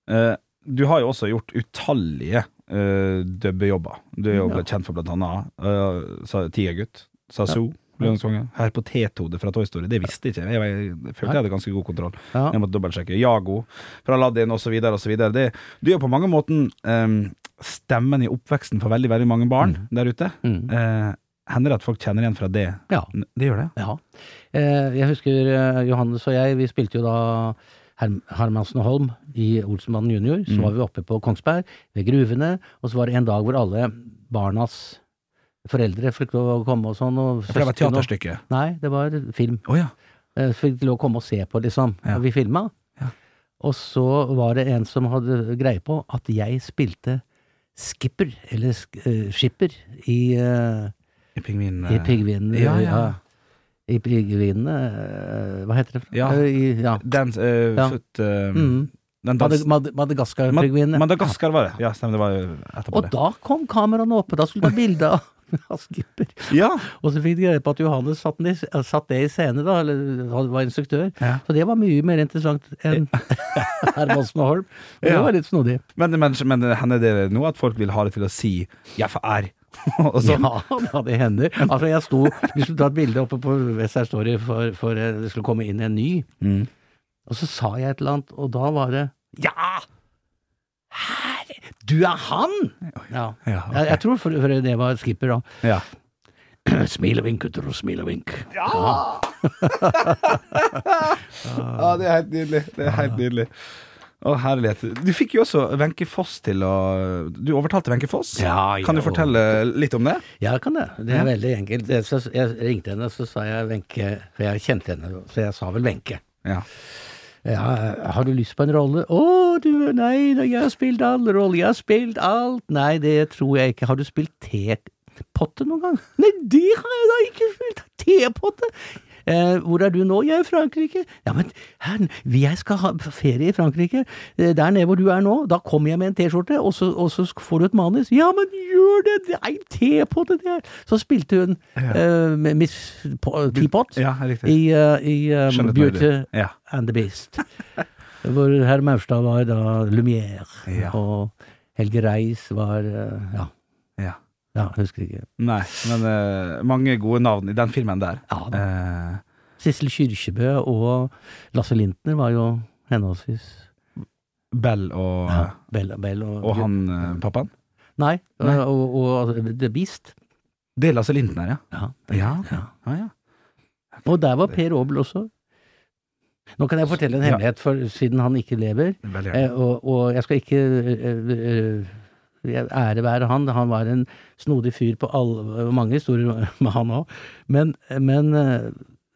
[SPEAKER 2] Ja.
[SPEAKER 1] Eh, du har jo også gjort utallige uh, dubbejobber. Du er jo
[SPEAKER 2] Ja.
[SPEAKER 1] kjent for blant annet eh, Sa- Tigergutt, Sasu,
[SPEAKER 2] Ja.
[SPEAKER 1] Lønnskongen. Her på T-Tode fra Toy Story, det visste ikke jeg. Jeg, var- jeg følte jeg hadde ganske god kontroll.
[SPEAKER 2] Ja.
[SPEAKER 1] Jeg måtte dobbeltsjekke. Jago fra Aladdin osv. osv. Det, det er jo på mange måter eh, stemmen i oppveksten for veldig, veldig mange barn der ute.
[SPEAKER 2] Mm.
[SPEAKER 1] Eh, hender det at folk kjenner igjen fra det?
[SPEAKER 2] ja.
[SPEAKER 1] Det gjør det.
[SPEAKER 2] ja. Eh, jeg husker eh, Johannes og jeg, vi spilte jo da Herm Hermansen og Holm i Olsenbanden junior. Så
[SPEAKER 1] Mm.
[SPEAKER 2] var vi oppe på Kongsberg, ved gruvene. Og så var det en dag hvor alle barnas foreldre fikk lov å komme og sånn. Og
[SPEAKER 1] For det var
[SPEAKER 2] søsken og-
[SPEAKER 1] teaterstykke.
[SPEAKER 2] Nei, det var film.
[SPEAKER 1] Å ja.
[SPEAKER 2] Eh, Fikk lov å komme og se på, liksom.
[SPEAKER 1] Ja.
[SPEAKER 2] Og vi filma.
[SPEAKER 1] Ja.
[SPEAKER 2] Og så var det en som hadde greie på at jeg spilte skipper, eller sk eh, skipper, i eh,
[SPEAKER 1] I pingvinen.
[SPEAKER 2] I pingvinene.
[SPEAKER 1] Ja, ja.
[SPEAKER 2] I pingvinene eh, Hva heter det? for-
[SPEAKER 1] Ja.
[SPEAKER 2] Eh, i- ja.
[SPEAKER 1] Den eh,
[SPEAKER 2] Ja.
[SPEAKER 1] født eh,
[SPEAKER 2] Mhm.
[SPEAKER 1] Den
[SPEAKER 2] Mad
[SPEAKER 1] dans...
[SPEAKER 2] Mad Madagaskar-pingvinene.
[SPEAKER 1] Madagaskar var det. Ja, stemmer. Det var jo etterpå
[SPEAKER 2] Og
[SPEAKER 1] det.
[SPEAKER 2] da kom kameraene oppe, da skulle man bilde av Skipper.
[SPEAKER 1] Ja.
[SPEAKER 2] Og så fikk de greie på at Johannes satt, den i, satt det i scene, da, eller han var instruktør.
[SPEAKER 1] Ja.
[SPEAKER 2] Så det var mye mer interessant enn Hermansen og Holm. Men Det
[SPEAKER 1] Ja.
[SPEAKER 2] var litt snodig.
[SPEAKER 1] Men, men, men hender det nå at folk vil ha det til å si 'jeg får R'? og sånn?
[SPEAKER 2] Ja, ja, det hender. Altså, jeg sto Vi skulle ta et bilde oppe på Western Story for, for eh, det skulle komme inn en ny.
[SPEAKER 1] Mm.
[SPEAKER 2] Og så sa jeg et eller annet, og da var det Ja! Her! Du er han! Ja.
[SPEAKER 1] Ja, ok.
[SPEAKER 2] Jeg, jeg tror for, for det var skipper, da.
[SPEAKER 1] Ja.
[SPEAKER 2] Smil og vink, gutter, og smil og vink.
[SPEAKER 1] Ja, det er helt nydelig. Det er helt nydelig. Å, herlighet. Du fikk jo også Wenche Foss til å Du overtalte Wenche Foss.
[SPEAKER 2] Ja, ja,
[SPEAKER 1] kan du
[SPEAKER 2] og-
[SPEAKER 1] fortelle litt om det?
[SPEAKER 2] Ja, jeg kan det. Det er veldig enkelt. Jeg, så, jeg ringte henne, så sa jeg Wenche, for jeg kjente henne, så jeg sa vel Wenche.
[SPEAKER 1] Ja.
[SPEAKER 2] Ja, har du lyst på en rolle? Å, du, nei, da, jeg har spilt alle roller, jeg har spilt alt. Nei, det tror jeg ikke. Har du spilt tepotte noen gang? Nei, det har jeg da ikke spilt! Tepotte! Eh, hvor er du nå? Jeg er i Frankrike. Ja, men herren, jeg skal ha ferie i Frankrike. Eh, der nede hvor du er nå, da kommer jeg med en T-skjorte, og, så- og så får du et manus. Ja, men gjør det! Det er en tepotte, det er Så spilte hun eh, med Miss Po- Teapot
[SPEAKER 1] Ja, riktig.
[SPEAKER 2] i, eh, i eh,
[SPEAKER 1] Skjønnet meg
[SPEAKER 2] Beauty
[SPEAKER 1] det. Ja.
[SPEAKER 2] and the Beast. Hvor herr Maurstad var da Lumière,
[SPEAKER 1] Ja.
[SPEAKER 2] og Helge Reis var eh, ja,
[SPEAKER 1] ja.
[SPEAKER 2] ja, husker ikke.
[SPEAKER 1] Nei, men eh, mange gode navn i den filmen der.
[SPEAKER 2] Ja, da.
[SPEAKER 1] Eh,
[SPEAKER 2] Sissel Kyrkjebø og Lasse Lintner var jo henholdsvis
[SPEAKER 1] Bell og,
[SPEAKER 2] Bell, Bell og,
[SPEAKER 1] og han eh, pappaen.
[SPEAKER 2] Nei,
[SPEAKER 1] Nei.
[SPEAKER 2] Og, og, og The Beast.
[SPEAKER 1] Det er Lasse Lintner, ja.
[SPEAKER 2] Ja.
[SPEAKER 1] Ja,
[SPEAKER 2] Ja.
[SPEAKER 1] ja, ja.
[SPEAKER 2] Og der var Per Aabel også. Nå kan jeg fortelle en
[SPEAKER 1] Ja.
[SPEAKER 2] hemmelighet, for siden han ikke lever.
[SPEAKER 1] Veldig gjerne.
[SPEAKER 2] Eh, og, og jeg skal ikke eh, eh, jeg ære være han. Han var en snodig fyr på alle, mange historier med han òg. Men, men eh,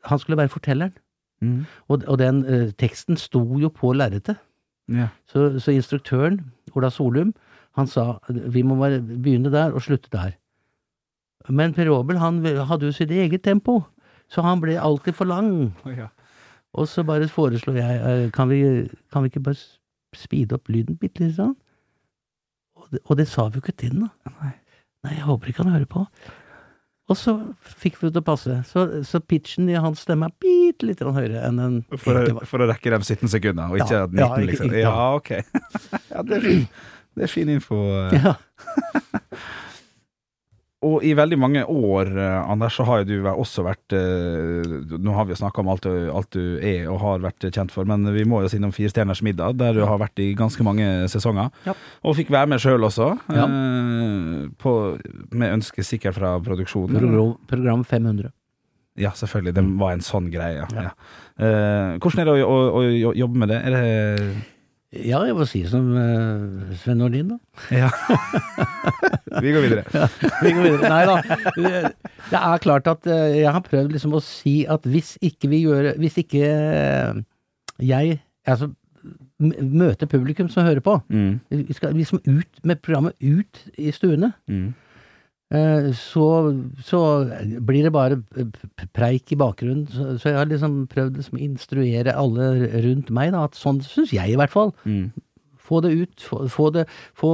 [SPEAKER 2] han skulle være fortelleren.
[SPEAKER 1] Mm.
[SPEAKER 2] Og, og den eh, teksten sto jo på lerretet.
[SPEAKER 1] Ja.
[SPEAKER 2] Så, så instruktøren, Ola Solum, han sa vi må bare begynne der og slutte der. Men Per Aabel han hadde jo sitt eget tempo, så han ble alltid for lang.
[SPEAKER 1] Ja.
[SPEAKER 2] Og så bare foreslo jeg eh, kan vi, kan vi ikke bare s- speede opp lyden bitte litt? Sånn? Og, det, og det sa vi jo ikke til den, da.
[SPEAKER 1] Nei.
[SPEAKER 2] Nei, jeg håper ikke han hører på. Og så fikk vi det til å passe. Så, så pitchen i hans stemme er bitte litt høyere enn den
[SPEAKER 1] For, å,
[SPEAKER 2] egentlig var.
[SPEAKER 1] for å rekke de 17 sekundene, og ikke
[SPEAKER 2] Ja,
[SPEAKER 1] 19,
[SPEAKER 2] ja, ikke-
[SPEAKER 1] liksom.
[SPEAKER 2] ikke-
[SPEAKER 1] Ja, ok. ja, det, er fin, det er fin info. eh.
[SPEAKER 2] Ja.
[SPEAKER 1] Og i veldig mange år, eh, Anders, så har jo du væ- også vært eh, Nå har vi jo snakka om alt du, alt du er og har vært kjent for, men vi må jo si noe om Fire stjerners middag, der du har vært i ganske mange sesonger.
[SPEAKER 2] Ja.
[SPEAKER 1] Og fikk være med sjøl også,
[SPEAKER 2] Ja.
[SPEAKER 1] eh, på, med ønske sikkert fra produksjonen.
[SPEAKER 2] Program, program 500.
[SPEAKER 1] Ja, selvfølgelig. Det var en sånn greie. Ja. Ja. Eh, hvordan er det å, å, å jo- jobbe med det? Er det
[SPEAKER 2] Ja, jeg må si som eh, Sven Nordin, da.
[SPEAKER 1] Ja. vi går videre.
[SPEAKER 2] Vi går videre. Nei da. Det er klart at eh, jeg har prøvd liksom å si at hvis ikke vi gjør Hvis ikke eh, jeg Altså m- møter publikum som hører på.
[SPEAKER 1] Mm.
[SPEAKER 2] Vi skal liksom ut med programmet ut i stuene.
[SPEAKER 1] Mm.
[SPEAKER 2] eh, Så, så blir det bare p- p- preik i bakgrunnen. Så- Så jeg har liksom prøvd liksom å instruere alle rundt meg, da. At sånn syns jeg, i hvert fall.
[SPEAKER 1] Mm.
[SPEAKER 2] Få det ut. Få, få, det, få,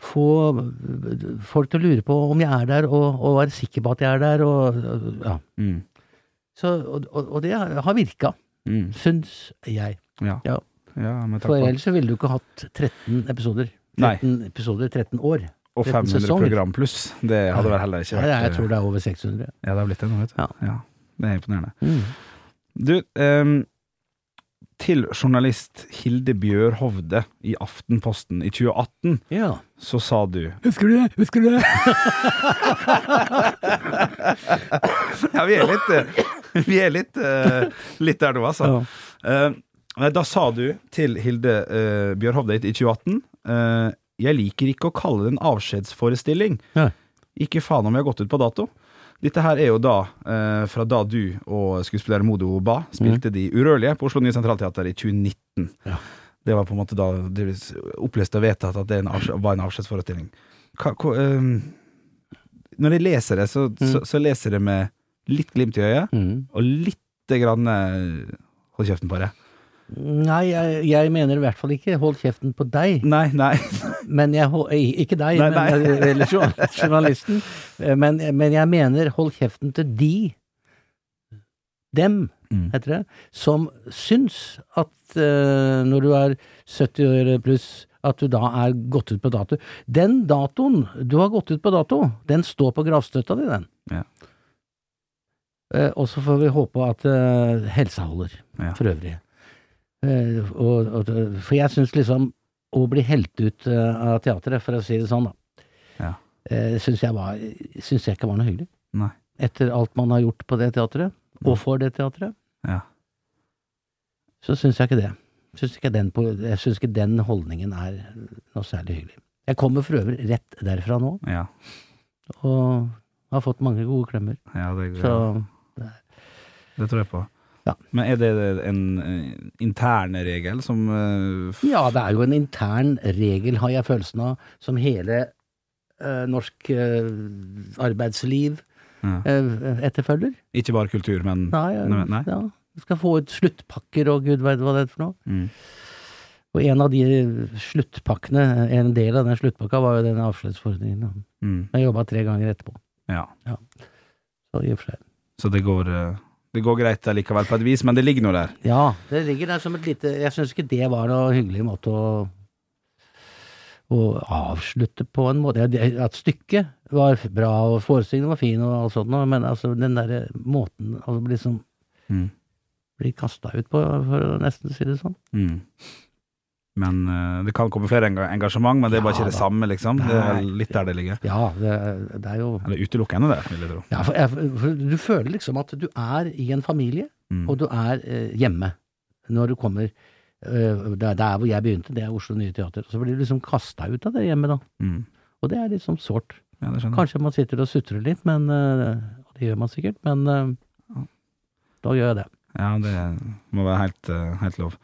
[SPEAKER 2] få øh, folk til å lure på om jeg er der, og, og være sikker på at jeg er der. Og, øh, ja.
[SPEAKER 1] Mm.
[SPEAKER 2] Så, og, og og det har virka,
[SPEAKER 1] Mm.
[SPEAKER 2] syns jeg.
[SPEAKER 1] Ja.
[SPEAKER 2] Ja.
[SPEAKER 1] ja, men takk
[SPEAKER 2] For
[SPEAKER 1] for
[SPEAKER 2] ellers så ville du ikke hatt 13 episoder.
[SPEAKER 1] Nei.
[SPEAKER 2] 13 episoder, 13 år.
[SPEAKER 1] Og
[SPEAKER 2] 13
[SPEAKER 1] 500
[SPEAKER 2] sesonger.
[SPEAKER 1] program pluss. Det hadde vel heller ikke
[SPEAKER 2] Ja,
[SPEAKER 1] vært eh,
[SPEAKER 2] jeg tror det er over 600.
[SPEAKER 1] Ja, det har blitt det nå, vet du.
[SPEAKER 2] Ja.
[SPEAKER 1] Det er imponerende.
[SPEAKER 2] Mm.
[SPEAKER 1] Du, ehm, til journalist Hilde Bjørhovde i Aftenposten i 2018
[SPEAKER 2] Ja.
[SPEAKER 1] så sa du
[SPEAKER 2] Husker du det? Husker du det?
[SPEAKER 1] Ja, vi er litt eh, Vi er litt, eh, litt der nå, altså. Eh, nei, da sa du til Hilde uh, Bjørhovde i 2018 eh, Jeg liker ikke å kalle det en avskjedsforestilling.
[SPEAKER 2] Nei.
[SPEAKER 1] Ikke faen om vi har gått ut på dato. Dette her er jo da eh, fra da du og skuespiller Modo Ba spilte De urørlige på Oslo Nye Sentralteater i 2019.
[SPEAKER 2] Ja.
[SPEAKER 1] Det var på en måte da det ble opplest og vedtatt at det er en avskj- var en avskjedsforestilling. Hva, hva, eh, Når jeg leser det, så, så, så leser jeg det med litt glimt i øyet,
[SPEAKER 2] Mm.
[SPEAKER 1] og lite grann eh, Hold kjeften på det.
[SPEAKER 2] Nei, jeg, jeg mener i hvert fall ikke 'hold kjeften på deg',
[SPEAKER 1] Nei, nei.
[SPEAKER 2] men jeg hol- eh, Ikke deg,
[SPEAKER 1] Nei, nei.
[SPEAKER 2] men eller jour- journalisten. Eh, Men, men jeg mener 'hold kjeften til de'. Dem,
[SPEAKER 1] Mm.
[SPEAKER 2] heter det. Som syns at eh, når du er 70 år pluss, at du da er gått ut på dato. Den datoen du har gått ut på dato, den står på gravstøtta di, den.
[SPEAKER 1] Ja.
[SPEAKER 2] Eh, og så får vi håpe at eh, helsa holder,
[SPEAKER 1] Ja.
[SPEAKER 2] for øvrig. Eh, og, og, for jeg syns liksom å bli helt ut eh, av teatret, for å si det sånn, da,
[SPEAKER 1] Ja.
[SPEAKER 2] eh, syns jeg, var- syns jeg ikke var noe hyggelig.
[SPEAKER 1] Nei.
[SPEAKER 2] Etter alt man har gjort på det teatret, og for det teatret,
[SPEAKER 1] Ja.
[SPEAKER 2] så syns jeg ikke det. Syns ikke den, på- jeg syns ikke den holdningen er noe særlig hyggelig. Jeg kommer for øvrig rett derfra nå,
[SPEAKER 1] Ja,
[SPEAKER 2] og har fått mange gode klemmer.
[SPEAKER 1] ja det,
[SPEAKER 2] Så
[SPEAKER 1] det tror jeg på.
[SPEAKER 2] Ja.
[SPEAKER 1] Men er det en eh, intern regel som eh, f-
[SPEAKER 2] Ja, det er jo en intern regel, har jeg følelsen av, som hele eh, norsk eh, arbeidsliv
[SPEAKER 1] Ja.
[SPEAKER 2] eh, etterfølger.
[SPEAKER 1] Ikke bare kultur, men
[SPEAKER 2] Nei,
[SPEAKER 1] Nei, nei.
[SPEAKER 2] Ja, du skal få ut sluttpakker og gud veit hva det er for noe.
[SPEAKER 1] Mm.
[SPEAKER 2] Og en av de eh, sluttpakkene, en del av den sluttpakka, var jo den avskjedsforordningen. da.
[SPEAKER 1] Mm.
[SPEAKER 2] Jeg jobba tre ganger etterpå.
[SPEAKER 1] Ja.
[SPEAKER 2] Så i og for seg.
[SPEAKER 1] Så det går, eh, det går greit allikevel på et vis, men det ligger noe der.
[SPEAKER 2] Ja, det ligger der som et lite Jeg syns ikke det var noe hyggelig måte å å avslutte på en måte. Ja, det- At stykket var bra, og forestillingen var fin, og alt sånt, noe, men altså den derre måten å bli liksom
[SPEAKER 1] Mm.
[SPEAKER 2] bli kasta ut på, for å nesten si det sånn.
[SPEAKER 1] Mm. Men eh, det kan komme flere enga- engasjement, men det er bare
[SPEAKER 2] Ja,
[SPEAKER 1] ikke det
[SPEAKER 2] da.
[SPEAKER 1] samme, liksom. Det er
[SPEAKER 2] Nei.
[SPEAKER 1] litt der det ligger.
[SPEAKER 2] Ja, det, det er jo
[SPEAKER 1] Eller utelukkende der, vil jeg tro.
[SPEAKER 2] ja, for, jeg, for Du føler liksom at du er i en familie,
[SPEAKER 1] Mm.
[SPEAKER 2] og du er eh, hjemme når du kommer eh, der, der hvor jeg begynte, det er Oslo Nye Teater. Så blir du liksom kasta ut av det hjemmet, da.
[SPEAKER 1] Mm.
[SPEAKER 2] Og det er liksom sårt.
[SPEAKER 1] Ja, det skjønner jeg.
[SPEAKER 2] Kanskje man sitter og sutrer litt, men øh, og det gjør man sikkert, men øh, da gjør jeg det.
[SPEAKER 1] Ja, det må være helt, eh, helt lov.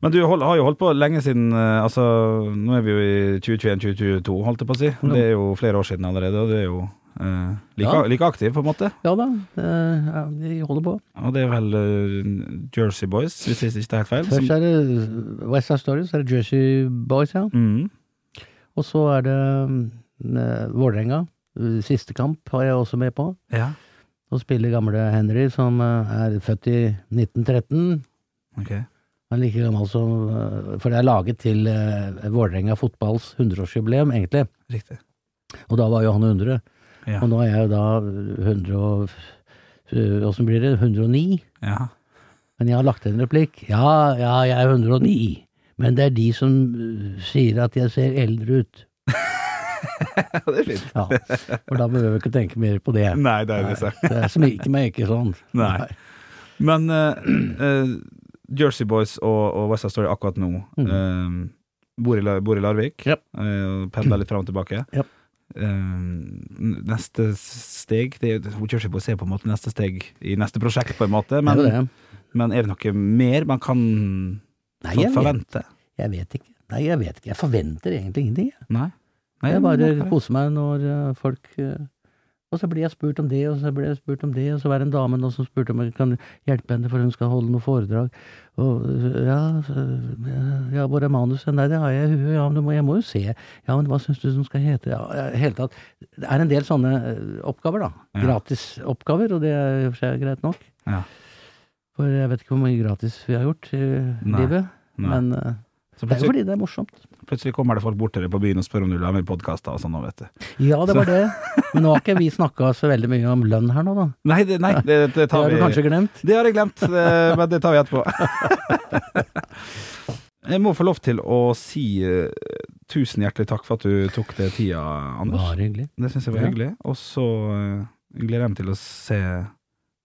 [SPEAKER 1] Men du hold, har jo holdt på lenge siden eh, Altså, nå er vi jo i 2021-2022, holdt jeg på å si. Det er jo flere år siden allerede, og du er jo eh, like,
[SPEAKER 2] Ja.
[SPEAKER 1] like aktiv, på en måte.
[SPEAKER 2] Ja da, øh, ja, vi holder på.
[SPEAKER 1] Og det er vel eh, Jersey Boys, hvis jeg ikke tar helt feil. som-
[SPEAKER 2] Først er det West Side Story, så er det Jersey Boys, ja.
[SPEAKER 1] Mm.
[SPEAKER 2] Og så er det øh, Vålerenga. Øh, Siste kamp har jeg også med på.
[SPEAKER 1] Ja.
[SPEAKER 2] Så spiller gamle Henry, som øh, er født i 1913.
[SPEAKER 1] Ok.
[SPEAKER 2] Han er like gammel som øh, For det er laget til øh, Vålerenga fotballs 100-årsjubileum, egentlig.
[SPEAKER 1] Riktig.
[SPEAKER 2] Og da var jo han 100.
[SPEAKER 1] Ja.
[SPEAKER 2] Og nå er jeg jo da 100 og øh, Åssen blir det? 109?
[SPEAKER 1] ja.
[SPEAKER 2] Men jeg har lagt til en replikk. Ja, ja, jeg er 109. Men det er de som øh, sier at jeg ser eldre ut.
[SPEAKER 1] det er fint.
[SPEAKER 2] Ja, For da behøver jeg ikke tenke mer på det.
[SPEAKER 1] Nei, det er det
[SPEAKER 2] Nei, det er sminke meg ikke sånn.
[SPEAKER 1] Nei. Men eh, eh, Jersey Boys og, og West Side Story akkurat nå
[SPEAKER 2] Mm.
[SPEAKER 1] eh, bor, i, La- bor i Larvik.
[SPEAKER 2] Japp.
[SPEAKER 1] eh, og pendler litt fram og tilbake.
[SPEAKER 2] Japp.
[SPEAKER 1] Eh, neste steg det, er- Jersey Boys er på en måte neste steg i neste prosjekt, på en måte. Men,
[SPEAKER 2] Men, det er jo det.
[SPEAKER 1] men er det noe mer man kan
[SPEAKER 2] Nei,
[SPEAKER 1] for-
[SPEAKER 2] jeg vet,
[SPEAKER 1] forvente?
[SPEAKER 2] jeg vet ikke. Nei, jeg vet ikke. Jeg forventer egentlig ingenting. jeg.
[SPEAKER 1] Nei? Nei,
[SPEAKER 2] Jeg bare
[SPEAKER 1] ok.
[SPEAKER 2] koser meg når øh, folk øh, og så blir jeg spurt om det, og så blir jeg spurt om det, og så var det en dame nå som spurte om jeg kan hjelpe henne, for hun skal holde noe foredrag. Og øh, ja, øh, ja hvor er manuset? Nei, det har jeg i huet, ja, men du må, jeg må jo se. Ja, men hva syns du den skal hete? Ja, i hele tatt. Det er en del sånne øh, oppgaver, da.
[SPEAKER 1] Ja.
[SPEAKER 2] Gratisoppgaver, og det er i og for seg greit nok.
[SPEAKER 1] Ja.
[SPEAKER 2] For jeg vet ikke hvor mye gratis vi har gjort i
[SPEAKER 1] Nei,
[SPEAKER 2] livet,
[SPEAKER 1] Nei. Altså-
[SPEAKER 2] men øh,
[SPEAKER 1] Så
[SPEAKER 2] det er jo
[SPEAKER 1] plutselig,
[SPEAKER 2] fordi det er morsomt.
[SPEAKER 1] plutselig kommer det folk bort til deg på byen og spør om du vil ha med i podkaster og sånn, nå, vet du.
[SPEAKER 2] Ja, det var det. Men nå har ikke vi snakka så veldig mye om lønn her nå, da.
[SPEAKER 1] Nei, det, nei, det, det
[SPEAKER 2] Det
[SPEAKER 1] tar
[SPEAKER 2] har du
[SPEAKER 1] vi
[SPEAKER 2] kanskje glemt?
[SPEAKER 1] Det har jeg glemt, eh, men det tar vi etterpå. Jeg må få lov til å si eh, tusen hjertelig takk for at du tok deg tida, Anders.
[SPEAKER 2] Bare hyggelig.
[SPEAKER 1] Det syns jeg var
[SPEAKER 2] Ja.
[SPEAKER 1] hyggelig. Og så eh, gleder jeg meg til å se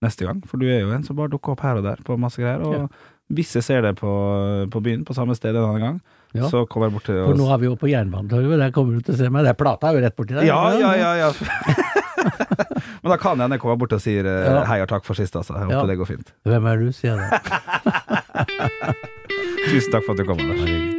[SPEAKER 1] neste gang, for du er jo en som bare dukker opp her og der på masse greier. Og
[SPEAKER 2] Ja.
[SPEAKER 1] hvis jeg ser deg på, på byen på samme sted en annen gang,
[SPEAKER 2] Ja.
[SPEAKER 1] så kommer jeg bort til
[SPEAKER 2] For nå er vi jo på Jernbanetorget, der kommer du til å se meg. Der plata er jo rett borti der.
[SPEAKER 1] Ja, ja, ja. ja. men da kan jeg hende jeg kommer bort og sier eh,
[SPEAKER 2] Ja.
[SPEAKER 1] hei og takk for sist, altså. Jeg håper
[SPEAKER 2] Ja.
[SPEAKER 1] det går fint.
[SPEAKER 2] Hvem er du, sier jeg da.
[SPEAKER 1] Tusen takk for at du kom, Anders.
[SPEAKER 2] Bare hyggelig.